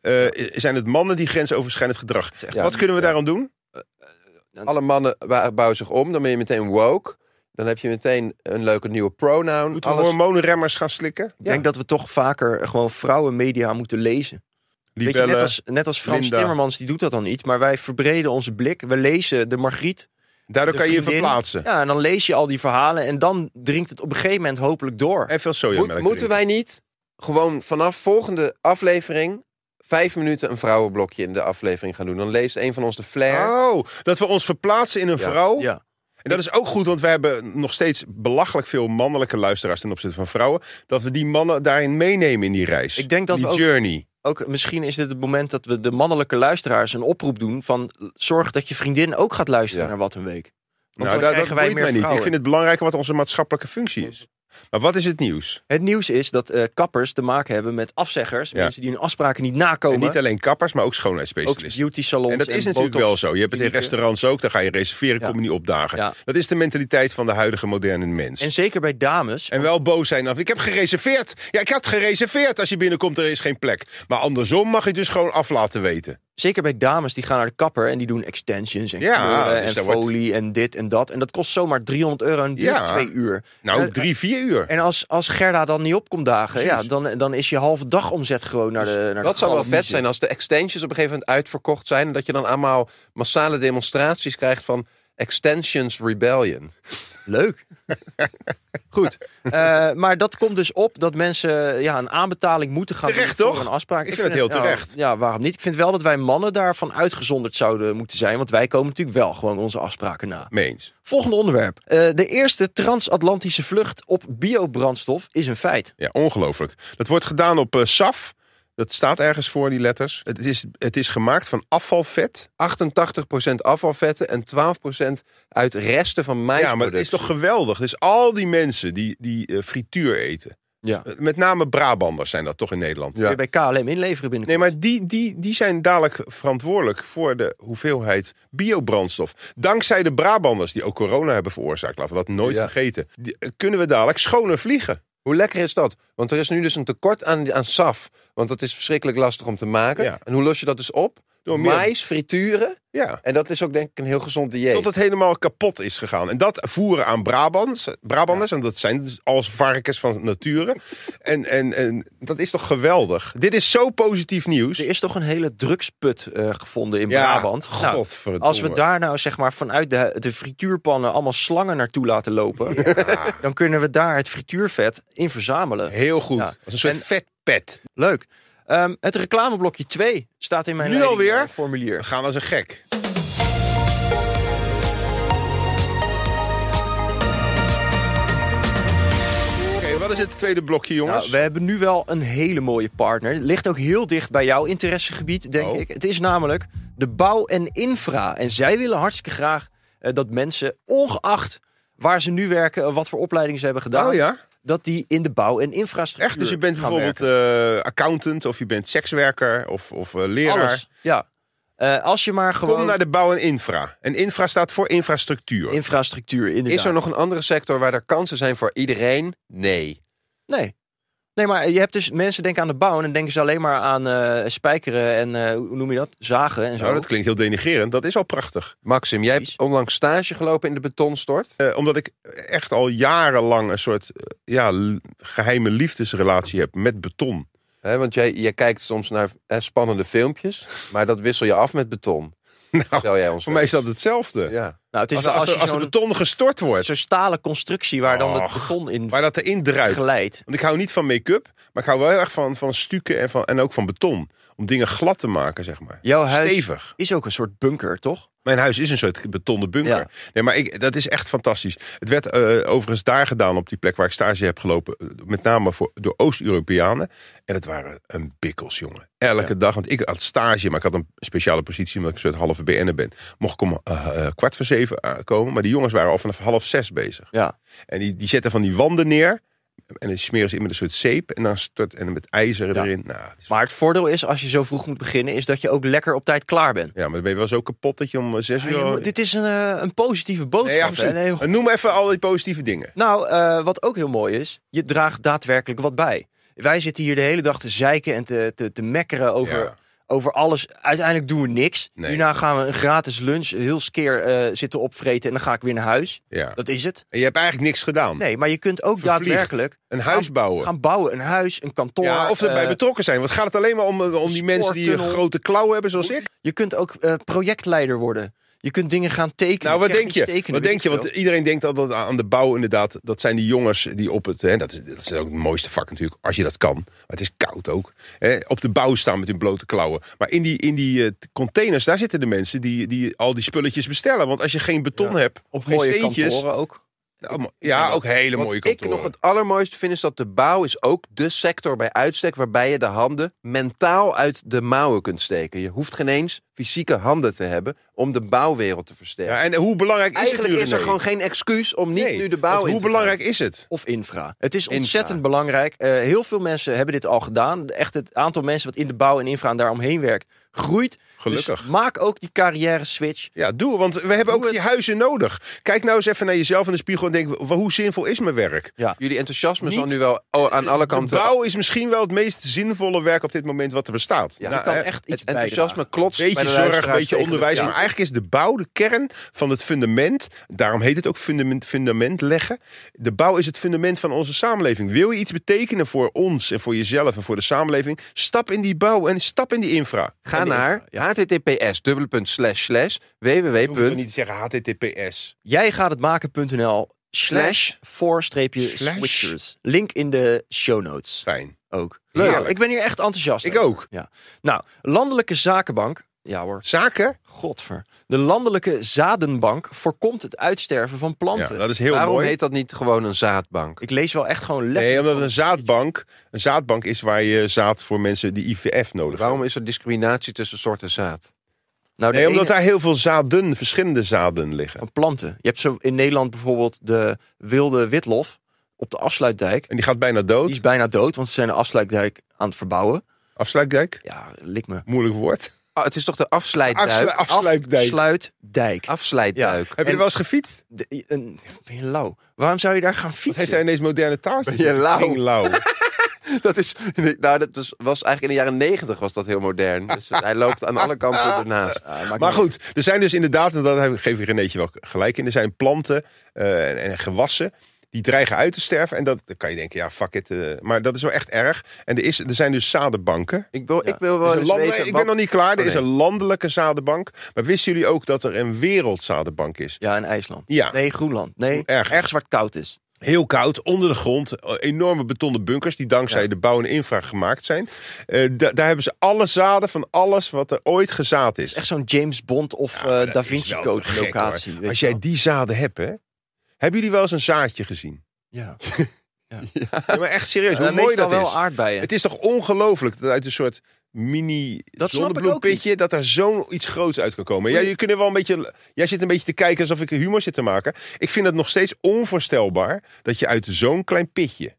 Speaker 2: eh, zijn het mannen die grensoverschrijdend gedrag.
Speaker 3: Ja.
Speaker 2: Wat kunnen we daaraan doen?
Speaker 3: Alle mannen wa- bouwen zich om, dan ben je meteen woke. Dan heb je meteen een leuke nieuwe pronoun.
Speaker 2: Moeten
Speaker 3: Alles-
Speaker 2: we hormoonremmers gaan slikken?
Speaker 4: Ik denk dat we toch vaker gewoon vrouwenmedia moeten lezen. Weet je,
Speaker 2: Libellen.
Speaker 4: net, als, net als Frans
Speaker 2: Linda.
Speaker 4: Timmermans, die doet dat dan niet. Maar wij verbreden onze blik. We lezen de Margriet.
Speaker 2: Daardoor
Speaker 4: de
Speaker 2: kan je je
Speaker 4: vriendin.
Speaker 2: verplaatsen.
Speaker 4: Ja, en dan lees je al die verhalen. En dan dringt het op een gegeven moment hopelijk door.
Speaker 2: En veel
Speaker 3: Moet-
Speaker 2: sojamelk.
Speaker 3: moeten wij niet gewoon vanaf volgende aflevering vijf minuten een vrouwenblokje in de aflevering gaan doen? Dan leest een van ons de flair.
Speaker 2: Oh, dat we ons verplaatsen in een
Speaker 3: Ja.
Speaker 2: vrouw.
Speaker 4: Ja.
Speaker 2: En dat is ook goed, want we hebben nog steeds belachelijk veel mannelijke luisteraars ten opzichte van vrouwen. Dat we die mannen daarin meenemen in die reis.
Speaker 4: Ik denk dat
Speaker 2: die
Speaker 4: we ook-
Speaker 2: journey.
Speaker 4: Ook misschien is dit het moment dat we de mannelijke luisteraars een oproep doen van l- zorg dat je vriendin ook gaat luisteren
Speaker 3: Ja.
Speaker 4: naar Wat een Week. Want
Speaker 2: Nou,
Speaker 4: dan
Speaker 2: dat, dat
Speaker 4: krijgen wij
Speaker 2: boeit
Speaker 4: meer
Speaker 2: mij niet. Ik
Speaker 4: vrouwen.
Speaker 2: vind het belangrijker wat onze maatschappelijke functie is. Maar wat is het nieuws?
Speaker 4: Het nieuws is dat eh, kappers te maken hebben met afzeggers.
Speaker 2: Ja.
Speaker 4: Mensen die hun afspraken niet nakomen.
Speaker 2: En niet alleen kappers, maar ook
Speaker 4: ook
Speaker 2: schoonheidsspecialisten.
Speaker 4: beauty salons.
Speaker 2: En dat is natuurlijk
Speaker 4: botox.
Speaker 2: wel zo. Je hebt het in
Speaker 4: klinieken.
Speaker 2: restaurants ook, daar ga je reserveren,
Speaker 4: Ja.
Speaker 2: kom je niet opdagen.
Speaker 4: Ja.
Speaker 2: Dat is de mentaliteit van de huidige moderne mens.
Speaker 4: En zeker bij dames.
Speaker 2: En wel boos zijn af. Ik heb gereserveerd. Ja, ik had gereserveerd. Als je binnenkomt, er is geen plek. Maar andersom mag je dus gewoon af laten weten.
Speaker 4: Zeker bij dames die gaan naar de kapper en die doen extensions en
Speaker 2: Ja,
Speaker 4: kleuren
Speaker 2: dus
Speaker 4: en
Speaker 2: daar wordt-
Speaker 4: folie en dit en dat. En dat kost zomaar 300 euro en duurt
Speaker 2: Ja.
Speaker 4: twee uur.
Speaker 2: Nou,
Speaker 4: Eh,
Speaker 2: drie, vier uur.
Speaker 4: En als, als Gerda dan niet op komt dagen, ja, dan, dan is je halve dag omzet gewoon naar de naar de
Speaker 3: Dat zou wel
Speaker 4: galop
Speaker 3: vet
Speaker 4: miezen.
Speaker 3: zijn als de extensions op een gegeven moment uitverkocht zijn. En dat je dan allemaal massale demonstraties krijgt van Extensions Rebellion.
Speaker 4: Leuk. Goed. Eh, maar dat komt dus op dat mensen ja, een aanbetaling moeten gaan
Speaker 2: Terecht,
Speaker 4: doen voor
Speaker 2: toch?
Speaker 4: een afspraak.
Speaker 2: Ik vind het heel
Speaker 4: ja,
Speaker 2: terecht.
Speaker 4: Ja, waarom niet? Ik vind wel dat wij mannen daarvan uitgezonderd zouden moeten zijn. Want wij komen natuurlijk wel gewoon onze afspraken na.
Speaker 2: Meens.
Speaker 4: Volgende onderwerp. Eh, de eerste transatlantische vlucht op biobrandstof is een feit.
Speaker 2: Ja, ongelooflijk. Dat wordt gedaan op eh, SAF. Dat staat ergens voor, die letters. Het is, het is gemaakt van afvalvet.
Speaker 3: 88% afvalvetten en 12% uit resten van maïs.
Speaker 2: Ja, maar het is toch geweldig. Dus al die mensen die, die eh, frituur eten.
Speaker 4: Ja.
Speaker 2: Eh, Met name Brabanders zijn dat toch in Nederland.
Speaker 3: Ja.
Speaker 4: Bij KLM inleveren binnenkort.
Speaker 2: Nee, maar die, die, die zijn dadelijk verantwoordelijk voor de hoeveelheid biobrandstof. Dankzij de Brabanders, die ook corona hebben veroorzaakt, laten we dat nooit
Speaker 3: Ja.
Speaker 2: vergeten, die- eh, kunnen we dadelijk schoner vliegen.
Speaker 3: Hoe lekker is dat? Want er is nu dus een tekort aan, aan saf. Want dat is verschrikkelijk lastig om te maken.
Speaker 2: Ja.
Speaker 3: En hoe los je dat dus op?
Speaker 2: Door meer-
Speaker 3: maïs, frituren.
Speaker 2: Ja.
Speaker 3: En dat is ook denk ik een heel gezond dieet.
Speaker 2: Tot het helemaal kapot is gegaan. En dat voeren aan Brabants, Brabanders, en dat zijn dus als varkens van nature. En, en, en dat is toch geweldig? Dit is zo positief nieuws.
Speaker 4: Er is toch een hele drugsput eh, gevonden in
Speaker 2: Ja,
Speaker 4: Brabant. Nou,
Speaker 2: godverdomme.
Speaker 4: als we daar nou zeg maar vanuit de, de frituurpannen allemaal slangen naartoe laten lopen, dan kunnen we daar het frituurvet in verzamelen.
Speaker 2: Heel goed.
Speaker 4: Ja.
Speaker 2: Als een soort
Speaker 4: En-
Speaker 2: vetpet.
Speaker 4: Leuk. Ehm, het reclameblokje 2 staat in mijn
Speaker 2: Nu
Speaker 4: leiding,
Speaker 2: alweer?
Speaker 4: eh,
Speaker 2: We
Speaker 4: formulier.
Speaker 2: gaan als een gek. Oké, wat is het tweede blokje, jongens?
Speaker 4: Nou, we hebben nu wel een hele mooie partner. Ligt ook heel dicht bij jouw interessegebied, denk
Speaker 2: Oh.
Speaker 4: ik. Het is namelijk de bouw en infra. En zij willen hartstikke graag eh, dat mensen, ongeacht waar ze nu werken, eh, wat voor opleiding ze hebben gedaan,
Speaker 2: Oh ja?
Speaker 4: dat die in de bouw en infrastructuur.
Speaker 2: Echt? Dus je bent
Speaker 4: gaan
Speaker 2: bijvoorbeeld
Speaker 4: werken.
Speaker 2: eh, accountant of je bent sekswerker of, of eh, leraar.
Speaker 4: alles. Ja. Eh, als je maar gewoon
Speaker 2: Kom naar de bouw en infra. En infra staat voor infrastructuur.
Speaker 4: infrastructuur inderdaad.
Speaker 3: Is er nog een andere sector waar er kansen zijn voor iedereen? Nee.
Speaker 4: Nee. Nee, maar je hebt dus mensen denken aan de bouw en dan denken ze alleen maar aan eh, spijkeren en eh, hoe noem je dat? Zagen en zo.
Speaker 2: nou, dat klinkt heel denigrerend. Dat is al prachtig.
Speaker 3: Maxim, jij hebt
Speaker 4: Precies.
Speaker 3: onlangs stage gelopen in de betonstort.
Speaker 2: Eh, omdat ik echt al jarenlang een soort eh, ja, l- geheime liefdesrelatie heb met beton.
Speaker 3: Hè, want jij, jij kijkt soms naar hè, spannende filmpjes, maar dat wissel je af met beton. Vertel jij ons
Speaker 2: Nou, Voor mij is
Speaker 3: wel
Speaker 2: dat hetzelfde.
Speaker 3: eens. Ja.
Speaker 4: Nou, het is
Speaker 2: Als,
Speaker 4: wel
Speaker 2: als, de-
Speaker 4: als, je
Speaker 2: als de
Speaker 4: zo'n
Speaker 2: beton gestort wordt.
Speaker 4: zo'n stalen constructie waar dan het
Speaker 2: Och,
Speaker 4: beton in
Speaker 2: Waar dat erin druipt.
Speaker 4: glijdt.
Speaker 2: Want ik hou niet van make-up, maar ik hou wel heel erg van, van stukken en, van, en ook van beton. Om dingen glad te maken, zeg maar.
Speaker 4: Jouw huis
Speaker 2: Stevig.
Speaker 4: is ook een soort bunker, toch?
Speaker 2: Mijn huis is een soort betonnen bunker.
Speaker 4: Ja.
Speaker 2: Nee, maar ik, dat is echt fantastisch. Het werd eh, overigens daar gedaan, op die plek waar ik stage heb gelopen. eh, Met name voor, door Oost-Europeanen. En het waren een bikkels, jongen. Elke dag. Want ik had stage, maar ik had een speciale positie. Omdat ik een soort halve BN'er ben. Mocht ik om eh, eh, kwart voor zeven eh, komen. Maar die jongens waren al vanaf half zes bezig.
Speaker 4: Ja.
Speaker 2: En die, die zetten van die wanden neer. En dan smeren ze in met een soort zeep. En dan stort en dan met ijzer
Speaker 4: Ja.
Speaker 2: erin. Nou, het is-
Speaker 4: Maar het voordeel is, als je zo vroeg moet beginnen, is dat je ook lekker op tijd klaar bent.
Speaker 2: ja, maar dan ben je wel zo kapot dat je om eh, zes
Speaker 4: Maar
Speaker 2: uur...
Speaker 4: je
Speaker 2: al-
Speaker 4: moet- dit is een, eh, een positieve boodschap.
Speaker 2: nee, ja,
Speaker 4: hè?
Speaker 2: absoluut.
Speaker 4: Een heel
Speaker 2: En Noem even al die positieve dingen.
Speaker 4: Nou, eh, wat ook heel mooi is, je draagt daadwerkelijk wat bij. Wij zitten hier de hele dag te zeiken en te, te, te mekkeren over,
Speaker 2: Ja.
Speaker 4: over alles. Uiteindelijk doen we niks.
Speaker 2: Nee.
Speaker 4: Hierna gaan we een gratis lunch heel skeer eh, zitten opvreten en dan ga ik weer naar huis.
Speaker 2: Ja.
Speaker 4: Dat is het.
Speaker 2: En je hebt eigenlijk niks gedaan.
Speaker 4: Nee, maar je kunt ook
Speaker 2: Vervliegd.
Speaker 4: daadwerkelijk
Speaker 2: Een huis bouwen.
Speaker 4: gaan bouwen. Een huis, een kantoor.
Speaker 2: ja, of erbij
Speaker 4: eh,
Speaker 2: betrokken zijn. Want gaat het alleen maar om, eh, om die mensen die een
Speaker 4: spoortunnel.
Speaker 2: grote klauwen hebben zoals ik?
Speaker 4: je kunt ook eh, projectleider worden. Je kunt dingen gaan tekenen.
Speaker 2: Nou, wat denk
Speaker 4: technisch
Speaker 2: je?
Speaker 4: tekenen,
Speaker 2: wat
Speaker 4: weet
Speaker 2: denk je?
Speaker 4: ik
Speaker 2: Want
Speaker 4: veel.
Speaker 2: iedereen denkt altijd aan de bouw inderdaad. Dat zijn die jongens die op het... Hè, dat, is, dat is ook het mooiste vak natuurlijk, als je dat kan. Maar het is koud ook. Hè, op de bouw staan met hun blote klauwen. Maar in die, in die eh, containers, daar zitten de mensen die, die al die spulletjes bestellen. Want als je geen beton hebt, of
Speaker 4: Op
Speaker 2: geen
Speaker 4: mooie
Speaker 2: steentjes...
Speaker 4: kantoren ook.
Speaker 2: Nou, mo- ja, ook hele mooie
Speaker 3: Wat ik
Speaker 2: kantoren.
Speaker 3: nog het allermooiste vind is dat de bouw is ook de sector bij uitstek waarbij je de handen mentaal uit de mouwen kunt steken. Je hoeft geen eens fysieke handen te hebben om de bouwwereld te versterken.
Speaker 2: ja, en hoe belangrijk is
Speaker 3: Eigenlijk
Speaker 2: het nu,
Speaker 3: is er
Speaker 2: René?
Speaker 3: gewoon geen excuus om niet
Speaker 2: Nee,
Speaker 3: nu de
Speaker 2: want
Speaker 3: bouw in
Speaker 2: Hoe
Speaker 3: te gaan.
Speaker 2: belangrijk is het?
Speaker 4: Of infra. Het is
Speaker 3: Infra.
Speaker 4: ontzettend belangrijk. Eh, heel veel mensen hebben dit al gedaan. Echt het aantal mensen wat in de bouw en infra en daaromheen werkt, groeit.
Speaker 2: Gelukkig.
Speaker 4: Dus maak ook die carrière switch.
Speaker 2: Ja, doe. Want we hebben ook
Speaker 4: het.
Speaker 2: die huizen nodig. Kijk nou eens even naar jezelf in de spiegel en denk, wa- hoe zinvol is mijn werk?
Speaker 3: Jullie enthousiasme zal
Speaker 2: Niet
Speaker 3: nu wel o- aan alle
Speaker 2: De
Speaker 3: kanten.
Speaker 2: bouw is misschien wel het meest zinvolle werk op dit moment wat er bestaat. Nou,
Speaker 3: Ja,
Speaker 4: Je kan
Speaker 2: hè,
Speaker 4: echt iets
Speaker 3: het enthousiasme
Speaker 4: bijdragen.
Speaker 3: klotst
Speaker 2: Beetje
Speaker 3: bij de
Speaker 2: zorg,
Speaker 3: luisteraars
Speaker 2: beetje
Speaker 3: tegen de-
Speaker 2: onderwijs.
Speaker 3: ja.
Speaker 2: Maar eigenlijk is de bouw de kern van het fundament. Daarom heet het ook fundament, fundament leggen. De bouw is het fundament van onze samenleving. Wil je iets betekenen voor ons en voor jezelf en voor de samenleving? Stap in die bouw en stap in die infra.
Speaker 3: Ga naar https
Speaker 2: Je hoeft toch niet te zeggen HTTPS.
Speaker 4: Jij gaat het maken.nl slash
Speaker 3: Slash.
Speaker 2: Slash.
Speaker 4: voor-switchers. Link in de show notes
Speaker 2: Fijn.
Speaker 4: ook.
Speaker 2: Leuk.
Speaker 4: Ja, ik ben hier echt enthousiast.
Speaker 2: Ik
Speaker 4: over.
Speaker 2: ook.
Speaker 4: Ja. Nou, Landelijke Zakenbank. Ja hoor,
Speaker 2: Zaken?
Speaker 4: godver. De Landelijke Zadenbank voorkomt het uitsterven van
Speaker 2: Ja,
Speaker 4: planten.
Speaker 2: dat is heel
Speaker 3: Waarom
Speaker 2: mooi.
Speaker 3: heet dat niet gewoon een zaadbank?
Speaker 4: Ik lees wel echt gewoon lekker.
Speaker 2: Nee, omdat een zaadbank, een zaadbank is waar je zaad voor mensen die IVF nodig hebben.
Speaker 3: Waarom is er discriminatie tussen soorten zaad?
Speaker 4: nou, de
Speaker 2: Nee, omdat
Speaker 4: ene-
Speaker 2: daar heel veel zaden, verschillende zaden liggen.
Speaker 4: van planten. Je hebt zo in Nederland bijvoorbeeld de wilde witlof op de afsluitdijk.
Speaker 2: En die gaat bijna
Speaker 4: Die
Speaker 2: dood.
Speaker 4: is bijna dood, want ze zijn de afsluitdijk aan het verbouwen.
Speaker 2: Afsluitdijk.
Speaker 4: Ja, lik me.
Speaker 2: Moeilijk woord.
Speaker 3: Ah, het is toch de afsluitduik?
Speaker 2: Afslu- afsluitdijk.
Speaker 4: Afsluitdijk.
Speaker 3: Afsluitduik.
Speaker 2: Heb je er
Speaker 4: En-
Speaker 2: wel eens gefietst?
Speaker 4: De- een, ben je lauw? Waarom zou je daar gaan
Speaker 2: Heeft
Speaker 4: fietsen?
Speaker 2: hij ineens moderne taaltjes?
Speaker 3: Ben je lauw?
Speaker 2: Fucking lauw.
Speaker 3: Dat is, nou, dat is- was eigenlijk in de jaren negentig was dat heel modern. Dus hij loopt aan alle
Speaker 2: Ah,
Speaker 3: kanten ernaast.
Speaker 4: Ja, maakt
Speaker 2: maar
Speaker 4: niet
Speaker 2: goed, er zijn dus inderdaad, en daar geef ik Renéetje wel gelijk in, er zijn planten eh, en, en gewassen die dreigen uit te sterven. En dat, dan kan je denken, ja, fuck it. eh, maar dat is wel echt erg. En er, is, er zijn dus zadenbanken.
Speaker 3: Ik wil,
Speaker 4: Ja.
Speaker 3: ik wil
Speaker 2: Er is
Speaker 3: wel
Speaker 2: een
Speaker 3: eens
Speaker 2: landelijk-
Speaker 3: Oh, dus weten...
Speaker 2: ik
Speaker 3: wat-
Speaker 2: ben nog niet klaar. Er
Speaker 3: Oh,
Speaker 2: is
Speaker 3: nee.
Speaker 2: een landelijke zadenbank. Maar wisten jullie ook dat er een wereldzadenbank is?
Speaker 4: uit. Ja, in IJsland.
Speaker 2: Ja.
Speaker 4: Nee, Groenland. Nee,
Speaker 2: Ergens.
Speaker 4: ergens waar het koud is.
Speaker 2: Heel koud, onder de grond. eh, Enorme betonnen bunkers die dankzij
Speaker 4: Ja.
Speaker 2: de bouw en infra gemaakt zijn. Eh, da- daar hebben ze alle zaden van alles wat er ooit gezaad is.
Speaker 4: Echt zo'n James Bond of eh,
Speaker 2: Ja, dat
Speaker 4: Da
Speaker 2: is
Speaker 4: Vinci
Speaker 2: wel
Speaker 4: Code
Speaker 2: te gek,
Speaker 4: locatie.
Speaker 2: hoor.
Speaker 4: weet
Speaker 2: Als
Speaker 4: je
Speaker 2: jij die zaden hebt, hè? Hebben jullie wel eens een zaadje gezien?
Speaker 4: wel. Ja.
Speaker 2: Ja, maar echt serieus,
Speaker 4: Ja,
Speaker 2: hoe mooi
Speaker 4: meestal
Speaker 2: dat
Speaker 4: wel
Speaker 2: is.
Speaker 4: aardbeien.
Speaker 2: Het is toch ongelooflijk dat uit een soort mini
Speaker 4: snap ik ook
Speaker 2: zonnebloempitje... dat daar zo'n iets groots uit kan komen. Ja, je kunt er wel een beetje, jij zit een beetje te kijken alsof ik humor zit te maken. Ik vind het nog steeds onvoorstelbaar dat je uit zo'n klein pitje...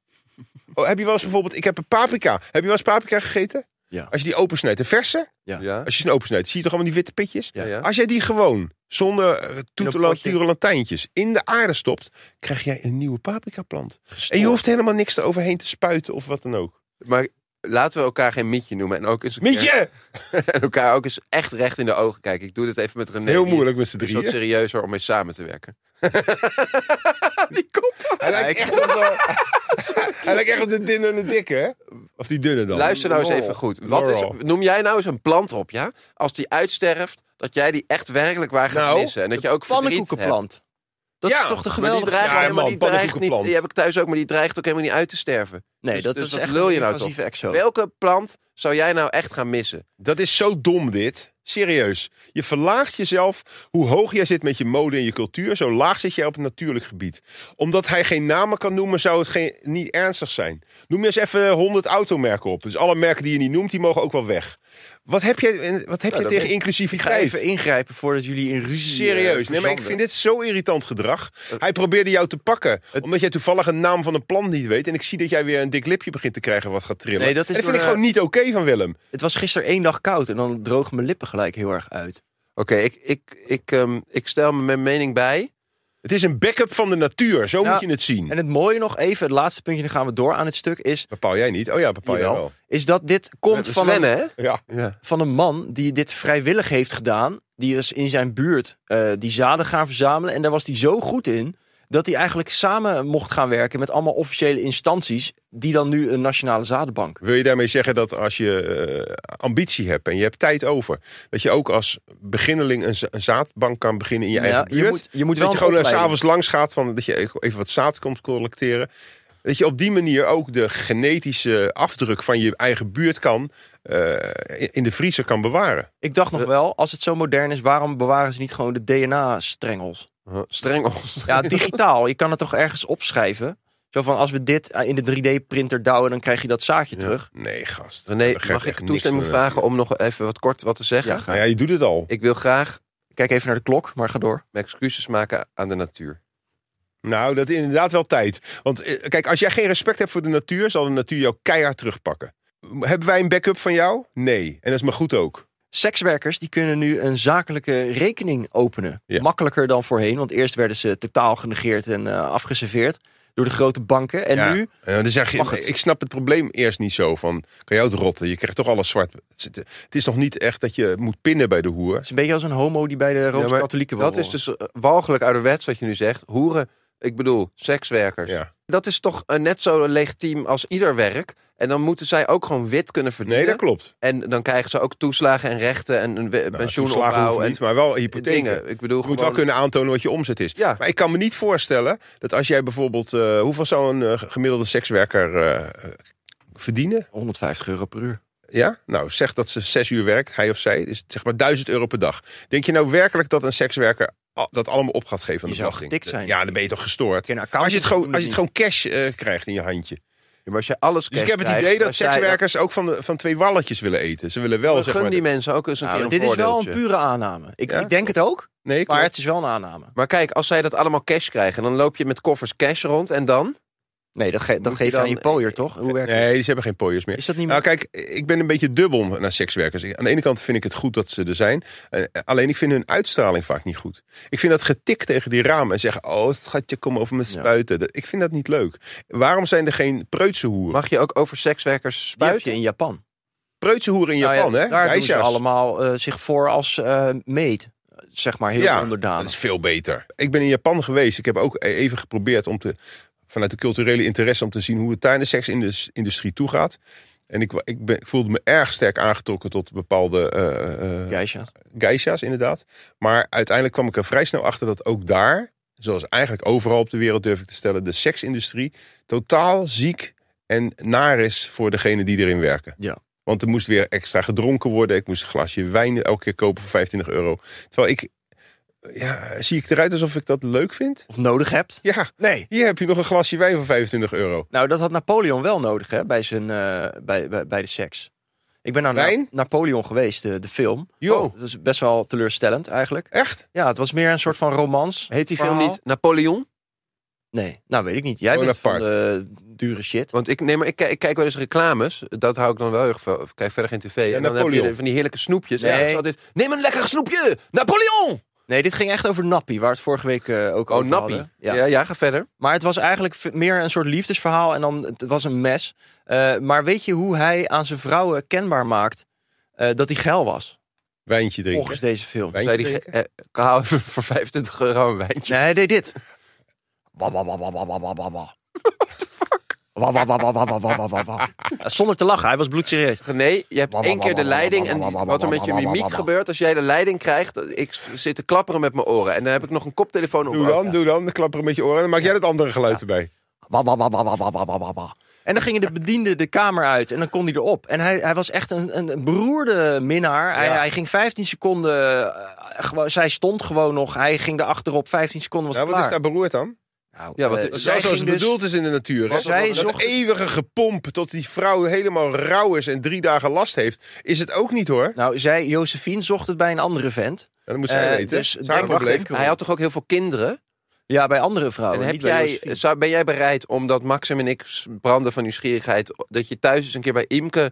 Speaker 2: Oh, heb je wel eens bijvoorbeeld, ik heb een paprika. Heb je wel eens paprika gegeten?
Speaker 4: Ja.
Speaker 2: Als je die opensnijdt, de verse,
Speaker 3: Ja?
Speaker 2: als je ze opensnijdt, zie je toch allemaal die witte pitjes?
Speaker 3: Ja, ja.
Speaker 2: Als jij die gewoon zonder eh, toetela-
Speaker 4: potje.
Speaker 2: toetelantijntjes in de aarde stopt, krijg jij een nieuwe paprikaplant. En je
Speaker 4: Gestoord.
Speaker 2: hoeft helemaal niks eroverheen te spuiten of wat dan ook.
Speaker 3: Maar laten we elkaar geen mietje noemen. En, ook eens een keer-
Speaker 2: Mietje!
Speaker 3: en elkaar ook eens echt recht in de ogen kijken. Ik doe dit even met René.
Speaker 2: Heel
Speaker 3: Die
Speaker 2: moeilijk met z'n
Speaker 3: is wat
Speaker 2: drieën.
Speaker 3: serieuzer om mee samen te werken.
Speaker 2: Hij lijkt echt op de, hij lijkt echt op de dunne en de dikke, hè? Of die dunne dan.
Speaker 3: Luister nou eens
Speaker 2: Laurel.
Speaker 3: even goed. Wat is,
Speaker 2: Laurel.
Speaker 3: noem jij nou eens een plant op, ja? Als die uitsterft, dat jij die echt werkelijk waar gaat
Speaker 2: Nou,
Speaker 3: missen. En dat je ook verdriet hebt.
Speaker 4: pannenkoekenplant. Dat
Speaker 2: Ja,
Speaker 4: is toch de
Speaker 3: Maar die
Speaker 4: geweldige...
Speaker 3: dreigt,
Speaker 2: Ja,
Speaker 3: helemaal,
Speaker 2: man,
Speaker 3: die, dreigt niet,
Speaker 2: pannenkoekenplant.
Speaker 3: die heb ik thuis ook, maar die dreigt ook helemaal niet uit te sterven.
Speaker 4: Nee,
Speaker 3: Dus-
Speaker 4: dat
Speaker 3: dus
Speaker 4: is
Speaker 3: wat
Speaker 4: echt
Speaker 3: lul
Speaker 4: een
Speaker 3: je nou
Speaker 4: invasieve exo.
Speaker 3: Welke plant zou jij nou echt gaan missen?
Speaker 2: Dat is zo dom dit. Serieus. Je verlaagt jezelf. Hoe hoog jij zit met je mode en je cultuur, zo laag zit jij op het natuurlijk gebied. Omdat hij geen namen kan noemen, zou het geen, niet ernstig zijn. Noem eens even 100 automerken op. Dus alle merken die je niet noemt, die mogen ook wel weg. Wat heb jij, en wat heb jij
Speaker 3: Ja, dat
Speaker 2: tegen
Speaker 3: weet-
Speaker 4: Ik ga even
Speaker 2: inclusiviteit?
Speaker 4: ingrijpen voordat jullie in ruzie... eh,
Speaker 2: Serieus. Nee, maar ik
Speaker 4: verzanden.
Speaker 2: vind dit zo irritant gedrag. Hij probeerde jou te pakken. Omdat jij toevallig een naam van een plant niet weet. En ik zie dat jij weer een dik lipje begint te krijgen wat gaat trillen.
Speaker 4: Nee, dat is
Speaker 2: en dat
Speaker 4: door,
Speaker 2: vind ik gewoon niet oké van Willem.
Speaker 4: Het was gisteren één dag koud en dan drogen mijn lippen gelijk heel erg uit.
Speaker 3: Oké, ik, ik, ik, ehm, ik stel me mijn mening bij.
Speaker 2: Het is een backup van de natuur. Zo
Speaker 4: Nou,
Speaker 2: moet je het zien.
Speaker 4: En het mooie nog even, het laatste puntje, dan gaan we door aan het stuk, is,
Speaker 2: Bepaal jij niet? Oh ja, bepaal jij
Speaker 4: Jawel.
Speaker 2: wel.
Speaker 4: is dat dit komt
Speaker 3: Met
Speaker 4: van
Speaker 3: Sven,
Speaker 4: een,
Speaker 3: hè?
Speaker 2: Ja.
Speaker 3: Ja.
Speaker 4: van een man die dit vrijwillig heeft gedaan. Die is in zijn buurt eh, die zaden gaan verzamelen. En daar was hij zo goed in dat hij eigenlijk samen mocht gaan werken met allemaal officiële instanties. Die dan nu een nationale zadenbank.
Speaker 2: Wil je daarmee zeggen dat als je eh, ambitie hebt en je hebt tijd over, dat je ook als beginneling een, za- een zaadbank kan beginnen in je
Speaker 4: Nou ja,
Speaker 2: eigen
Speaker 4: je
Speaker 2: buurt?
Speaker 4: moet- je moet
Speaker 2: dat je
Speaker 4: wel een
Speaker 2: gewoon eh,
Speaker 4: opleiding.
Speaker 2: s'avonds langs gaat van dat je e-, even wat zaad komt collecteren. Dat je op die manier ook de genetische afdruk van je eigen buurt kan eh, in- in de vriezer kan bewaren.
Speaker 4: Ik dacht nog wel, als het zo modern is, waarom bewaren ze niet gewoon de DNA-strengels?
Speaker 3: Huh, Strengels.
Speaker 4: Ja, digitaal. Je kan het toch ergens opschrijven? Zo van, als we dit eh, in de 3D-printer douwen, dan krijg je dat zaadje terug.
Speaker 2: Nee, gast.
Speaker 3: René,
Speaker 2: Dat geeft
Speaker 3: mag ik
Speaker 2: echt niks
Speaker 3: toestemming
Speaker 2: meer.
Speaker 3: vragen om nog even wat kort wat te zeggen?
Speaker 4: Ja,
Speaker 2: Nou ja, je doet het al.
Speaker 3: Ik wil graag
Speaker 4: Ik Kijk even naar de klok, maar ga door.
Speaker 3: mijn excuses maken aan de natuur.
Speaker 2: Nou, dat is inderdaad wel tijd. Want eh, kijk, als jij geen respect hebt voor de natuur, zal de natuur jou keihard terugpakken. Hebben wij een backup van jou? Nee. En dat is maar goed ook.
Speaker 4: Sekswerkers die kunnen nu een zakelijke rekening openen.
Speaker 2: Ja.
Speaker 4: Makkelijker dan voorheen, want eerst werden ze totaal genegeerd en eh, afgeserveerd door de grote banken. En
Speaker 2: Ja.
Speaker 4: nu,
Speaker 2: Eh, dan zeg je,
Speaker 4: Mag het.
Speaker 2: ik snap het probleem eerst niet zo. Van, kan jou het rotten? Je krijgt toch alles zwart. Het is- het is nog niet echt dat je moet pinnen bij de hoer.
Speaker 4: het is een beetje als een homo die bij de
Speaker 3: Ja, maar
Speaker 4: Rooms-Katholieken wil
Speaker 3: Dat is
Speaker 4: horen.
Speaker 3: dus eh, walgelijk ouderwets wat je nu zegt. Hoeren, ik bedoel, sekswerkers.
Speaker 2: Ja.
Speaker 3: Dat is toch eh, net zo legitiem als ieder werk. En dan moeten zij ook gewoon wit kunnen verdienen.
Speaker 2: Nee, dat klopt.
Speaker 3: En dan krijgen ze ook toeslagen en rechten en een we-
Speaker 2: Nou, toeslagen
Speaker 3: pensioenopbouw
Speaker 2: hoeven
Speaker 3: en
Speaker 2: niet, maar wel hypotheken.
Speaker 3: dingen. Ik bedoel,
Speaker 2: Je moet
Speaker 3: gewoon-
Speaker 2: wel kunnen aantonen wat je omzet is.
Speaker 3: Ja.
Speaker 2: Maar ik kan me niet voorstellen dat als jij bijvoorbeeld... eh, hoeveel zou een eh, gemiddelde sekswerker eh, verdienen?
Speaker 4: 150 euro per uur.
Speaker 2: Ja? Nou, zeg dat ze zes uur werkt, hij of zij. Is het zeg maar 1000 euro per dag. Denk je nou werkelijk dat een sekswerker al- dat allemaal op gaat geven aan
Speaker 4: Je
Speaker 2: de
Speaker 4: zou
Speaker 2: belasting?
Speaker 4: getikt zijn.
Speaker 2: Ja, dan ben je toch gestoord.
Speaker 4: Geen accountant
Speaker 2: Als je het gewoon,
Speaker 4: doen
Speaker 2: als je het
Speaker 4: niet.
Speaker 2: gewoon cash eh, krijgt in je handje.
Speaker 3: Ja, maar als je alles
Speaker 2: Dus ik heb
Speaker 3: cash
Speaker 2: het
Speaker 3: krijgt,
Speaker 2: idee dat
Speaker 3: als jij-
Speaker 2: sekswerkers ook van, de, van twee walletjes willen eten. Ze willen wel,
Speaker 3: Dan
Speaker 2: zeg
Speaker 3: Gun
Speaker 2: maar...
Speaker 3: die mensen ook eens een
Speaker 4: Nou,
Speaker 3: keer een
Speaker 4: dit is wel een
Speaker 3: voordeeltje.
Speaker 4: pure aanname. Ik,
Speaker 2: Ja?
Speaker 4: ik denk het ook,
Speaker 2: Nee,
Speaker 4: maar
Speaker 2: klopt.
Speaker 4: het is wel een aanname.
Speaker 3: Maar kijk, als zij dat allemaal cash krijgen, dan loop je met koffers cash rond en dan?
Speaker 4: Nee, dat, ge-
Speaker 3: Moet
Speaker 4: dat
Speaker 3: je
Speaker 4: geef je aan je
Speaker 3: dan-
Speaker 4: pooier, toch? Hoe werkt het?
Speaker 2: Nee, ze hebben geen pooiers meer.
Speaker 4: Is dat niet
Speaker 2: Nou,
Speaker 4: meer?
Speaker 2: kijk, ik ben een beetje dubbel naar sekswerkers. Ik- Aan de ene kant vind ik het goed dat ze er zijn. Eh, alleen ik vind hun uitstraling vaak niet goed. Ik vind dat getik tegen die ramen en zeggen: Oh, het gaat je komen over me spuiten. Dat- Ik vind dat niet leuk. Waarom zijn er geen preutse hoeren?
Speaker 3: Mag je ook over sekswerkers
Speaker 4: Die heb je
Speaker 3: spuiten?
Speaker 4: in Japan.
Speaker 2: Preutse hoeren in
Speaker 4: Nou ja,
Speaker 2: Japan, hè?
Speaker 4: Daar doen ze
Speaker 2: Geisha's.
Speaker 4: allemaal eh, zich voor als eh meet. Zeg maar, heel
Speaker 2: Ja,
Speaker 4: onderdaan.
Speaker 2: Dat is veel beter. Ik ben in Japan geweest. Ik heb ook e- even geprobeerd om te, vanuit de culturele interesse om te zien hoe het daar in de seksindustrie toegaat. En ik, wa- ik, ben, ik voelde me erg sterk aangetrokken tot bepaalde eh, eh,
Speaker 4: Geisha.
Speaker 2: geisha's inderdaad. Maar uiteindelijk kwam ik er vrij snel achter dat ook daar, zoals eigenlijk overal op de wereld durf ik te stellen, de seksindustrie totaal ziek en naar is voor degenen die erin werken.
Speaker 4: Ja.
Speaker 2: Want er moest weer extra gedronken worden. Ik moest een glasje wijn elke keer kopen voor 25 euro. Terwijl ik, ja, zie ik eruit alsof ik dat leuk vind?
Speaker 4: Of nodig hebt.
Speaker 2: Ja,
Speaker 4: Nee.
Speaker 2: hier heb je nog een glasje wijn voor 25 euro.
Speaker 4: Nou, dat had Napoleon wel nodig hè, bij, zijn, eh, bij, bij, bij de seks. Ik ben naar Na-
Speaker 2: Wijn?
Speaker 4: Napoleon geweest, eh, de, de film. Oh,
Speaker 2: Jo.
Speaker 4: Dat is best wel teleurstellend eigenlijk.
Speaker 2: Echt?
Speaker 4: Ja, het was meer een soort van romans.
Speaker 3: Heet die film
Speaker 4: verhaal.
Speaker 3: niet Napoleon?
Speaker 4: Nee, nou weet ik niet. Jij bent van de dure shit.
Speaker 3: Want ik, nee, maar ik, kijk- ik kijk wel eens reclames. Dat hou ik dan wel heel erg veel. Ik kijk verder geen tv. en dan heb
Speaker 2: Napoleon.
Speaker 3: je van die heerlijke snoepjes. En
Speaker 4: Nee.
Speaker 3: dan is altijd, Neem een lekker snoepje! Napoleon!
Speaker 4: Nee, dit ging echt over Nappie, waar we het vorige week eh, ook
Speaker 3: Oh,
Speaker 4: over
Speaker 3: nappie.
Speaker 4: hadden.
Speaker 3: Ja.
Speaker 4: Ja.
Speaker 3: Ja, ga verder.
Speaker 4: Maar het was eigenlijk v- meer een soort liefdesverhaal en dan het was een mes. Eh, maar weet je hoe hij aan zijn vrouwen kenbaar maakt eh, dat hij geil was?
Speaker 2: Wijntje drinken.
Speaker 4: Volgens deze film.
Speaker 2: Wijntje
Speaker 3: Zei die,
Speaker 2: drinken.
Speaker 3: eh, ik hou even voor 25 euro een wijntje.
Speaker 4: Nee, hij deed dit. Wa, wa, wa, wa, wa, wa, wa, wa, wa. Wa, wa, wa, wa, wa, wa, wa, wa, wa, wa. Zonder te lachen, hij was bloedserieus.
Speaker 3: Nee, je hebt één keer de leiding en wat er met je mimiek gebeurt als jij de leiding krijgt. Ik zit te klapperen met mijn oren en dan heb ik nog een koptelefoon op.
Speaker 2: Doe dan, doe dan. Dan klapperen met je oren. Dan maak jij dat andere geluid erbij.
Speaker 4: Wa, wa, wa, wa, wa, wa, wa, wa, wa, wa. En dan gingen de bedienden de kamer uit en dan kon hij erop. En hij, hij was echt een, een een beroerde minnaar. Hij,
Speaker 2: Ja.
Speaker 4: hij ging 15 seconden, eh, gewoon- zij stond gewoon nog. Hij ging erachterop, 15 seconden was
Speaker 2: Nou,
Speaker 4: het
Speaker 2: wat is
Speaker 4: klaar.
Speaker 2: daar beroerd dan?
Speaker 4: Nou,
Speaker 3: Ja, wat-
Speaker 4: eh,
Speaker 3: dat
Speaker 2: Zo
Speaker 4: zij
Speaker 2: zoals het
Speaker 4: ging dus-
Speaker 2: bedoeld is in de natuur. hè?
Speaker 4: Zij
Speaker 2: dat
Speaker 4: zocht-
Speaker 2: eeuwige gepomp tot die vrouw helemaal rauw is en drie dagen last heeft, is het ook niet hoor.
Speaker 4: Nou, zij, Josephine, zocht het bij een andere vent.
Speaker 2: En dat moet zij
Speaker 4: Eh,
Speaker 2: weten.
Speaker 4: dus
Speaker 2: Dus,
Speaker 4: denk-
Speaker 2: haar probleem. Oh,
Speaker 4: wacht
Speaker 3: Hij had toch ook heel veel kinderen?
Speaker 4: Ja, bij andere vrouwen.
Speaker 3: En heb
Speaker 4: niet bij
Speaker 3: jij,
Speaker 4: Josephine.
Speaker 3: zou, ben jij bereid, omdat Maxim en ik branden van nieuwsgierigheid, dat je thuis eens een keer bij Imke...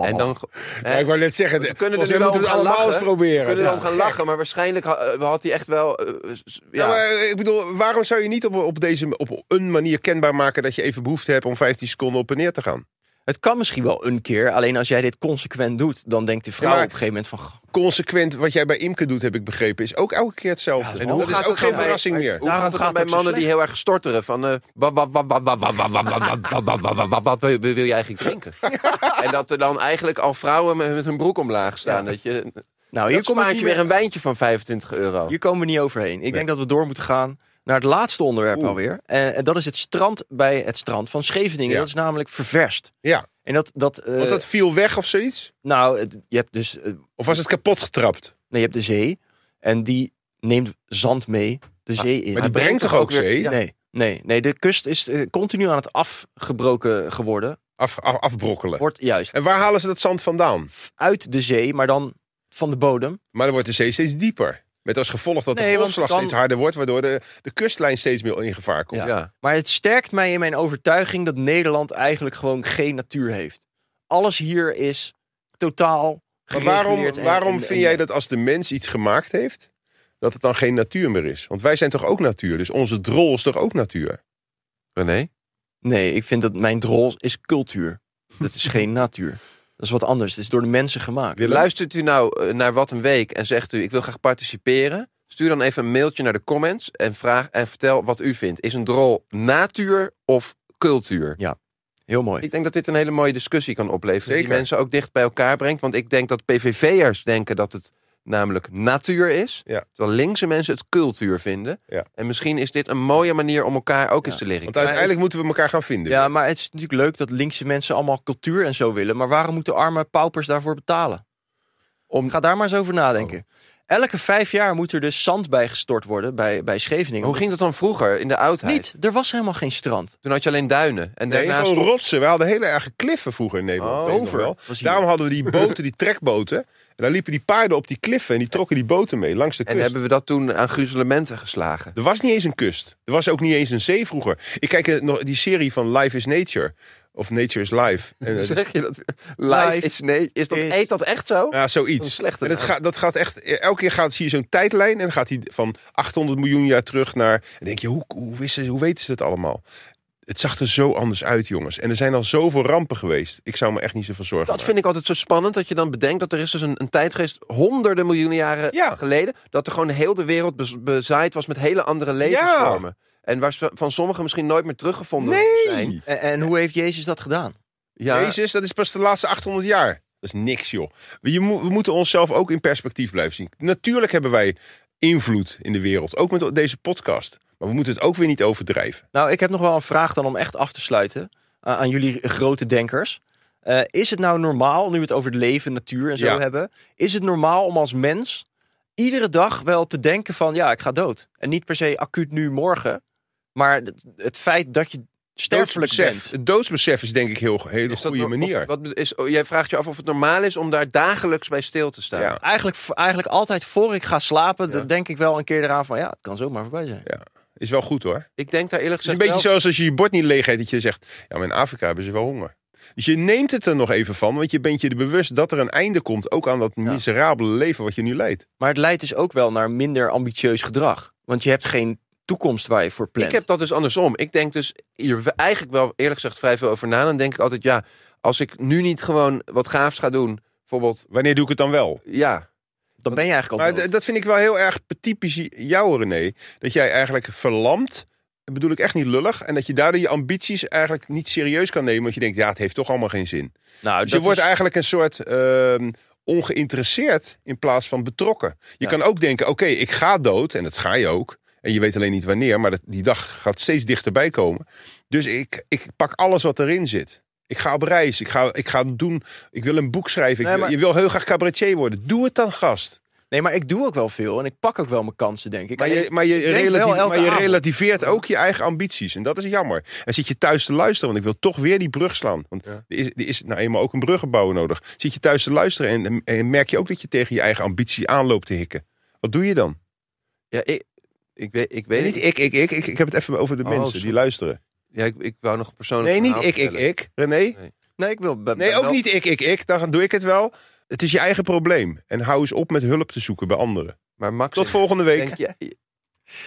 Speaker 3: En dan...
Speaker 2: Ja, ik wou net zeggen,
Speaker 3: We
Speaker 2: we kunnen
Speaker 3: kunnen er
Speaker 2: we
Speaker 3: nu
Speaker 2: moeten
Speaker 3: wel om
Speaker 2: het
Speaker 3: gaan
Speaker 2: allemaal eens
Speaker 3: lachen.
Speaker 2: proberen.
Speaker 3: kunnen
Speaker 2: Ja.
Speaker 3: dan gaan lachen, maar waarschijnlijk ha- had hij echt wel... eh, s- ja.
Speaker 2: Ja, Nou, maar, ik bedoel, waarom zou je niet op, op, deze, op een manier kenbaar maken dat je even behoefte hebt om 15 seconden op en neer te gaan?
Speaker 4: Het kan misschien wel een keer, alleen als jij dit consequent doet, dan denkt de vrouw
Speaker 2: Ja, maar-
Speaker 4: op een gegeven moment van... "Goh, nou,
Speaker 2: Consequent, wat jij bij Imke doet, heb ik begrepen, is ook elke keer hetzelfde.
Speaker 4: en
Speaker 2: dat
Speaker 3: gaat
Speaker 2: is
Speaker 3: het
Speaker 2: ook geen
Speaker 3: dan bij-
Speaker 2: verrassing meer.
Speaker 3: Hoe
Speaker 4: Daarom
Speaker 3: gaat het dan
Speaker 4: gaat
Speaker 3: bij
Speaker 4: het zo
Speaker 3: mannen die
Speaker 4: slecht.
Speaker 3: heel erg storteren? Van, eh, wa- wa- wa- wa- wa- wa- wa- wa- wa- wa- wa- wa- wa- wa- wa- wat wil wil je eigenlijk drinken? En dat er dan eigenlijk al vrouwen met met hun broek omlaag staan. Dat je,
Speaker 4: Nou,
Speaker 3: hier
Speaker 4: hier,
Speaker 3: kom
Speaker 4: kom ik
Speaker 3: je
Speaker 4: niet
Speaker 3: weer
Speaker 4: meer-
Speaker 3: een wijntje van 25 euro.
Speaker 4: hier komen we niet overheen. Ik denk dat we door moeten gaan naar het laatste onderwerp alweer. En, en dat is het strand bij het strand van Scheveningen.
Speaker 2: Ja.
Speaker 4: Dat is namelijk ververst.
Speaker 2: Ja,
Speaker 4: En dat... dat, eh,
Speaker 2: want dat viel weg of zoiets?
Speaker 4: Nou, het- je hebt dus... eh,
Speaker 2: Of was het kapot getrapt?
Speaker 4: nee, je hebt de zee. En die neemt zand mee de zee in.
Speaker 2: Ah, Maar die brengt toch ook zee?
Speaker 3: ja.
Speaker 4: Nee, nee, nee. De kust is eh, continu aan het afgebroken geworden.
Speaker 2: Af, af- afbrokkelen.
Speaker 4: Wordt juist
Speaker 2: En waar halen ze dat zand vandaan?
Speaker 4: uit de zee, maar dan van de bodem.
Speaker 2: Maar dan wordt de zee steeds dieper. Met als gevolg dat
Speaker 4: Nee,
Speaker 2: de
Speaker 4: want
Speaker 2: golfslag
Speaker 4: dan-
Speaker 2: steeds harder wordt, waardoor de, de kustlijn steeds meer in gevaar komt.
Speaker 4: Ja.
Speaker 3: Ja.
Speaker 4: Maar het sterkt mij in mijn overtuiging dat Nederland eigenlijk gewoon geen natuur heeft. Alles hier is totaal
Speaker 2: Maar waarom,
Speaker 4: gereguleerd en-
Speaker 2: waarom
Speaker 4: en-
Speaker 2: vind
Speaker 4: en-
Speaker 2: jij dat als de mens iets gemaakt heeft, dat het dan geen natuur meer is? Want wij zijn toch ook natuur, dus onze drol is toch ook natuur?
Speaker 3: René?
Speaker 4: Nee, ik vind dat mijn drol is cultuur. Dat is geen natuur. Dat is wat anders. Het is door de mensen gemaakt.
Speaker 3: Luistert u nou eh, naar Wat een Week en zegt u ik wil graag participeren? Stuur dan even een mailtje naar de comments en, vraag, en vertel wat u vindt. Is een drol natuur of cultuur?
Speaker 4: Heel mooi.
Speaker 3: Ik denk dat dit een hele mooie discussie kan opleveren. Die
Speaker 2: Zeker.
Speaker 3: mensen ook dicht bij elkaar brengt. Want ik denk dat PVV'ers denken dat het namelijk natuur is.
Speaker 2: Ja.
Speaker 3: Terwijl linkse mensen het cultuur vinden.
Speaker 2: Ja.
Speaker 3: En misschien is dit een mooie manier om elkaar ook eens te leren.
Speaker 2: Want uiteindelijk moeten we elkaar gaan vinden.
Speaker 4: Ja, maar het is natuurlijk leuk dat linkse mensen allemaal cultuur en zo willen. Maar waarom moeten arme paupers daarvoor betalen?
Speaker 3: Om, Oh.
Speaker 4: Ga daar maar eens over nadenken. Elke vijf jaar moet er dus zand bij gestort worden bij, bij Scheveningen. Dus
Speaker 3: hoe ging dat dan vroeger in de oudheid?
Speaker 4: Niet, er was helemaal geen strand.
Speaker 3: Toen had je alleen duinen. En
Speaker 2: Nee,
Speaker 3: daarnaast
Speaker 2: gewoon rotsen. We hadden hele erge kliffen vroeger in Nederland.
Speaker 3: Oh,
Speaker 2: weet ik nog
Speaker 4: over.
Speaker 2: wel.
Speaker 4: Was hier.
Speaker 2: Daarom hadden we die boten, die trekboten. En dan liepen die paarden op die kliffen en die trokken die boten mee langs de kust.
Speaker 3: En hebben we dat toen aan gruzelementen geslagen?
Speaker 2: Er was niet eens een kust. Er was ook niet eens een zee vroeger. Ik kijk eh, nog die serie van Life is Nature. Of Nature is Life. En, eh,
Speaker 3: Hoe zeg je dat weer? Live
Speaker 4: Live
Speaker 3: is nee. Is dat,
Speaker 4: is-
Speaker 3: Eet dat echt zo?
Speaker 2: Ja,
Speaker 3: Een
Speaker 2: zoiets.
Speaker 3: slechte
Speaker 2: En dat,
Speaker 3: naam.
Speaker 2: gaat, dat gaat echt. eh, Elke keer gaat, zie je zo'n tijdlijn. En dan gaat die van 800 miljoen jaar terug naar. En dan denk je, hoe, hoe, wisten, ze- hoe weten ze dat allemaal? Het zag er zo anders uit, jongens. En er zijn al zoveel rampen geweest. Ik zou me echt niet zoveel zorgen
Speaker 3: Dat
Speaker 2: maken.
Speaker 3: vind ik altijd zo spannend, dat je dan bedenkt dat er is dus een, een tijdgeest honderden miljoenen jaren
Speaker 2: Ja.
Speaker 3: geleden, dat er gewoon heel de wereld bez- bezaaid was met hele andere levensvormen. En waar ze- van sommigen misschien nooit meer teruggevonden zijn.
Speaker 2: Nee!
Speaker 4: En, en hoe heeft Jezus dat gedaan?
Speaker 3: Ja,
Speaker 2: Jezus, dat is pas de laatste 800 jaar. Dat is niks, joh. Je moet- we moeten onszelf ook in perspectief blijven zien. Natuurlijk hebben wij invloed in de wereld. Ook met deze podcast. Maar we moeten het ook weer niet overdrijven.
Speaker 4: Nou, ik heb nog wel een vraag dan om echt af te sluiten a- aan jullie grote denkers. Eh, is het nou normaal, nu we het over het leven, natuur en zo
Speaker 2: Ja.
Speaker 4: hebben, is het normaal om als mens iedere dag wel te denken van ja, ik ga dood. En niet per se acuut nu morgen, maar het, het feit dat je sterfelijk
Speaker 2: Doodsbesef.
Speaker 4: bent.
Speaker 2: Het doodsbesef is denk ik heel hele
Speaker 3: is dat
Speaker 2: goede
Speaker 3: no- of-
Speaker 2: manier.
Speaker 3: wat be- is, oh, jij vraagt je af of het normaal is om daar dagelijks bij stil te staan.
Speaker 2: Ja.
Speaker 4: Eigenlijk, eigenlijk altijd voor ik ga slapen, dan denk ik wel een keer eraan van ja, het kan zomaar voorbij zijn.
Speaker 2: Is wel goed hoor.
Speaker 3: Ik denk daar eerlijk
Speaker 2: Het is
Speaker 3: gezegd
Speaker 2: een beetje
Speaker 3: wel-
Speaker 2: zoals als je je bord niet leeg eet, dat je zegt, ja, maar in Afrika hebben ze wel honger. Dus je neemt het er nog even van, want je bent je er bewust dat er een einde komt, ook aan dat miserabele leven wat je nu leidt.
Speaker 4: Maar het leidt dus ook wel naar minder ambitieus gedrag. Want je hebt geen toekomst waar je voor plant.
Speaker 3: Ik heb dat dus andersom. Ik denk dus hier w- eigenlijk wel eerlijk gezegd vrij veel over na. Dan denk ik altijd, ja, als ik nu niet gewoon wat gaafs ga doen, bijvoorbeeld,
Speaker 2: Wanneer doe ik het dan wel?
Speaker 3: ja,
Speaker 4: Dan ben je eigenlijk al
Speaker 2: Maar
Speaker 4: dood.
Speaker 2: d- dat vind ik wel heel erg typisch jou, René. Dat jij eigenlijk verlamt, dat bedoel ik echt niet lullig, en dat je daardoor je ambities eigenlijk niet serieus kan nemen, want je denkt, ja, het heeft toch allemaal geen zin.
Speaker 4: Nou,
Speaker 2: Dus
Speaker 4: dat
Speaker 2: je wordt
Speaker 4: is-
Speaker 2: eigenlijk een soort ehm, ongeïnteresseerd in plaats van betrokken. Je
Speaker 4: Ja.
Speaker 2: kan ook denken, oké, ik ga dood. En dat ga je ook. En je weet alleen niet wanneer, maar dat, die dag gaat steeds dichterbij komen. Dus ik, ik pak alles wat erin zit. Ik ga op reis, ik ga, ik ga doen, ik wil een boek schrijven. Ik
Speaker 4: Nee,
Speaker 2: wil-
Speaker 4: maar-
Speaker 2: Je wil heel graag cabaretier worden. Doe het dan, gast.
Speaker 4: Nee, maar ik doe ook wel veel en ik pak ook wel mijn kansen, denk ik.
Speaker 2: Maar je,
Speaker 4: Alleen,
Speaker 2: maar je,
Speaker 4: ik denk
Speaker 2: relati-
Speaker 4: wel elke
Speaker 2: maar je
Speaker 4: avond.
Speaker 2: relativeert ook je eigen ambities. En dat is jammer. En zit je thuis te luisteren, want ik wil toch weer die brug slaan. Want
Speaker 3: Ja.
Speaker 2: er, is, er is nou eenmaal ook een bruggenbouwer nodig. Zit je thuis te luisteren en, en- en merk je ook dat je tegen je eigen ambitie aanloopt te hikken. Wat doe je dan?
Speaker 3: Ja, ik, ik weet, ik weet
Speaker 2: niet
Speaker 3: niet.
Speaker 2: ik, ik, ik, ik. Ik heb het even over de
Speaker 3: Oh,
Speaker 2: mensen
Speaker 3: sorry.
Speaker 2: die luisteren.
Speaker 3: Ja, ik, ik wou nog een persoonlijk.
Speaker 2: Nee, niet
Speaker 3: verhaal
Speaker 2: ik, ik,
Speaker 3: vertellen.
Speaker 2: ik. René?
Speaker 4: Nee, ik wil...
Speaker 2: Nee, ook niet ik, ik, ik. Dan doe ik het wel. Het is je eigen probleem. En hou eens op met hulp te zoeken bij anderen.
Speaker 3: Maar Max,
Speaker 2: Tot volgende week.
Speaker 3: Denk, je- ik,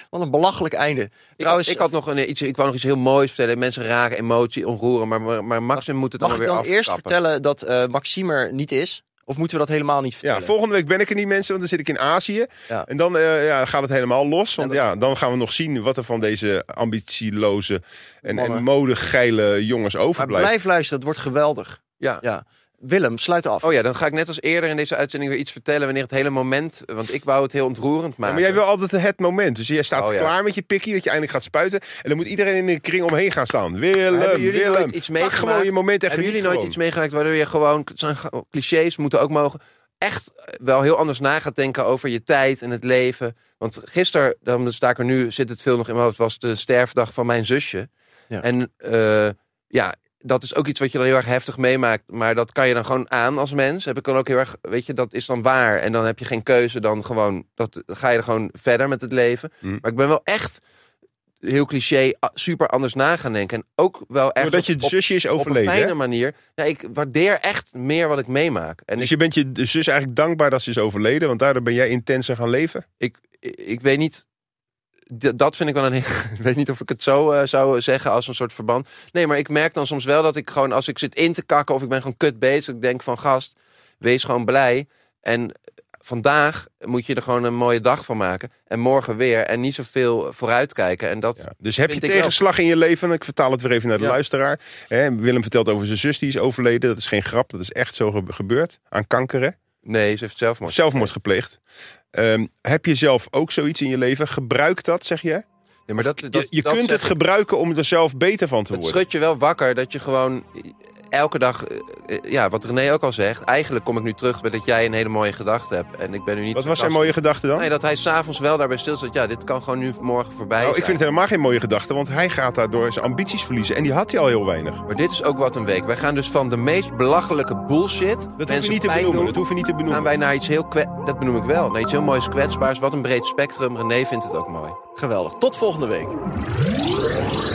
Speaker 4: Wat een belachelijk einde. Trouwens,
Speaker 3: Trouwens, ik had nog een, iets, ik wou nog iets heel moois vertellen. Mensen raken, emotie, onroeren, maar, maar, maar Maxim moet het dan
Speaker 4: mag ik
Speaker 3: weer
Speaker 4: dan eerst
Speaker 3: afkappen.
Speaker 4: vertellen dat eh Maxime er niet is? Of moeten we dat helemaal niet vertellen?
Speaker 2: Ja, volgende week ben ik er niet, mensen, want dan zit ik in Azië.
Speaker 4: Ja.
Speaker 2: En dan eh, ja, gaat het helemaal los. Want
Speaker 4: En
Speaker 2: ja, dan gaan we nog zien wat er van deze ambitieloze en,
Speaker 4: Mannen.
Speaker 2: en modegeile jongens
Speaker 4: maar
Speaker 2: overblijft.
Speaker 4: blijf luisteren, het wordt geweldig.
Speaker 3: Ja.
Speaker 4: ja. Willem, sluit af.
Speaker 3: Oh ja, dan ga ik net als eerder in deze uitzending weer iets vertellen wanneer het hele moment, want ik wou het heel ontroerend
Speaker 2: Ja,
Speaker 3: maken.
Speaker 2: maar jij wil altijd het moment. Dus jij staat
Speaker 3: Oh, ja.
Speaker 2: klaar met je pikkie dat je eindelijk gaat spuiten. En dan moet iedereen in een kring omheen gaan staan.
Speaker 3: Maar
Speaker 2: Willem,
Speaker 3: hebben jullie
Speaker 2: Willem.
Speaker 3: nooit iets
Speaker 2: pak
Speaker 3: meegemaakt?
Speaker 2: gewoon je moment en
Speaker 3: Hebben
Speaker 2: geniet
Speaker 3: jullie nooit
Speaker 2: gewoon.
Speaker 3: iets meegemaakt waardoor je gewoon, het zijn ge- clichés moeten ook mogen, echt wel heel anders na gaat denken over je tijd en het leven. Want gisteren, dan sta ik er nu, zit het veel nog in mijn hoofd, was de sterfdag van mijn zusje.
Speaker 4: Ja.
Speaker 3: En eh, ja, dat is ook iets wat je dan heel erg heftig meemaakt. Maar dat kan je dan gewoon aan als mens. Heb ik dan ook heel erg, weet je, dat is dan waar. En dan heb je geen keuze, dan gewoon, dat, dan ga je er gewoon verder met het leven.
Speaker 2: Mm.
Speaker 3: Maar ik ben wel echt heel cliché, a- super anders na gaan denken. En ook wel echt
Speaker 2: Doordat je
Speaker 3: op-
Speaker 2: zusje is
Speaker 3: op een
Speaker 2: overleden.
Speaker 3: fijne
Speaker 2: hè?
Speaker 3: manier. Nou, ik waardeer echt meer wat ik meemaak. En
Speaker 2: Dus
Speaker 3: ik,
Speaker 2: je bent je zus eigenlijk dankbaar dat ze is overleden, want daardoor ben jij intenser gaan leven.
Speaker 3: ik, ik, weet niet. d- Dat vind ik wel een. Ik weet niet of ik het zo eh, zou zeggen als een soort verband. Nee, maar ik merk dan soms wel dat ik gewoon. Als ik zit in te kakken of ik ben gewoon kut bezig. Ik denk van gast, wees gewoon blij. En vandaag moet je er gewoon een mooie dag van maken. En morgen weer. En niet zoveel vooruitkijken. En dat.
Speaker 2: Ja. Dus heb
Speaker 3: Vind
Speaker 2: je
Speaker 3: ik wel.
Speaker 2: tegenslag in je leven? Ik vertaal het weer even naar de
Speaker 3: Ja.
Speaker 2: luisteraar. Hè, Willem vertelt over zijn zus die is overleden. Dat is geen grap, dat is echt zo ge- gebeurd. Aan kanker, hè?
Speaker 3: Nee, ze heeft zelfmoord.
Speaker 2: Of zelfmoord gepleegd. Ehm, heb je zelf ook zoiets in je leven? Gebruik dat, zeg je?
Speaker 3: Ja, maar dat, dat,
Speaker 2: je je
Speaker 3: dat
Speaker 2: kunt
Speaker 3: zeg
Speaker 2: het gebruiken om er zelf beter van te
Speaker 3: Het
Speaker 2: worden.
Speaker 3: schudt je wel wakker dat je gewoon elke dag, eh, eh, ja, wat René ook al zegt, eigenlijk kom ik nu terug bij dat jij een hele mooie gedachte hebt. En ik ben nu niet.
Speaker 2: Wat was zijn
Speaker 3: sarcastisch.
Speaker 2: mooie gedachte dan?
Speaker 3: Nee, dat hij s'avonds wel daarbij stilstaat. Ja, dit kan gewoon nu morgen voorbij.
Speaker 2: nou, ik
Speaker 3: zijn.
Speaker 2: vind het helemaal geen mooie gedachte, want hij gaat daardoor zijn ambities verliezen. En die had hij al heel weinig.
Speaker 3: Maar dit is ook wat een week. Wij gaan dus van de meest belachelijke bullshit.
Speaker 2: Dat hoef je
Speaker 3: mensen
Speaker 2: niet te
Speaker 3: pijn
Speaker 2: benoemen.
Speaker 3: doen,
Speaker 2: Dat hoef je niet te
Speaker 3: gaan
Speaker 2: benoemen.
Speaker 3: wij naar iets heel kwe- dat benoem ik wel, naar iets heel moois kwetsbaars. Wat een breed spectrum. René vindt het ook mooi.
Speaker 4: Geweldig. Tot volgende week.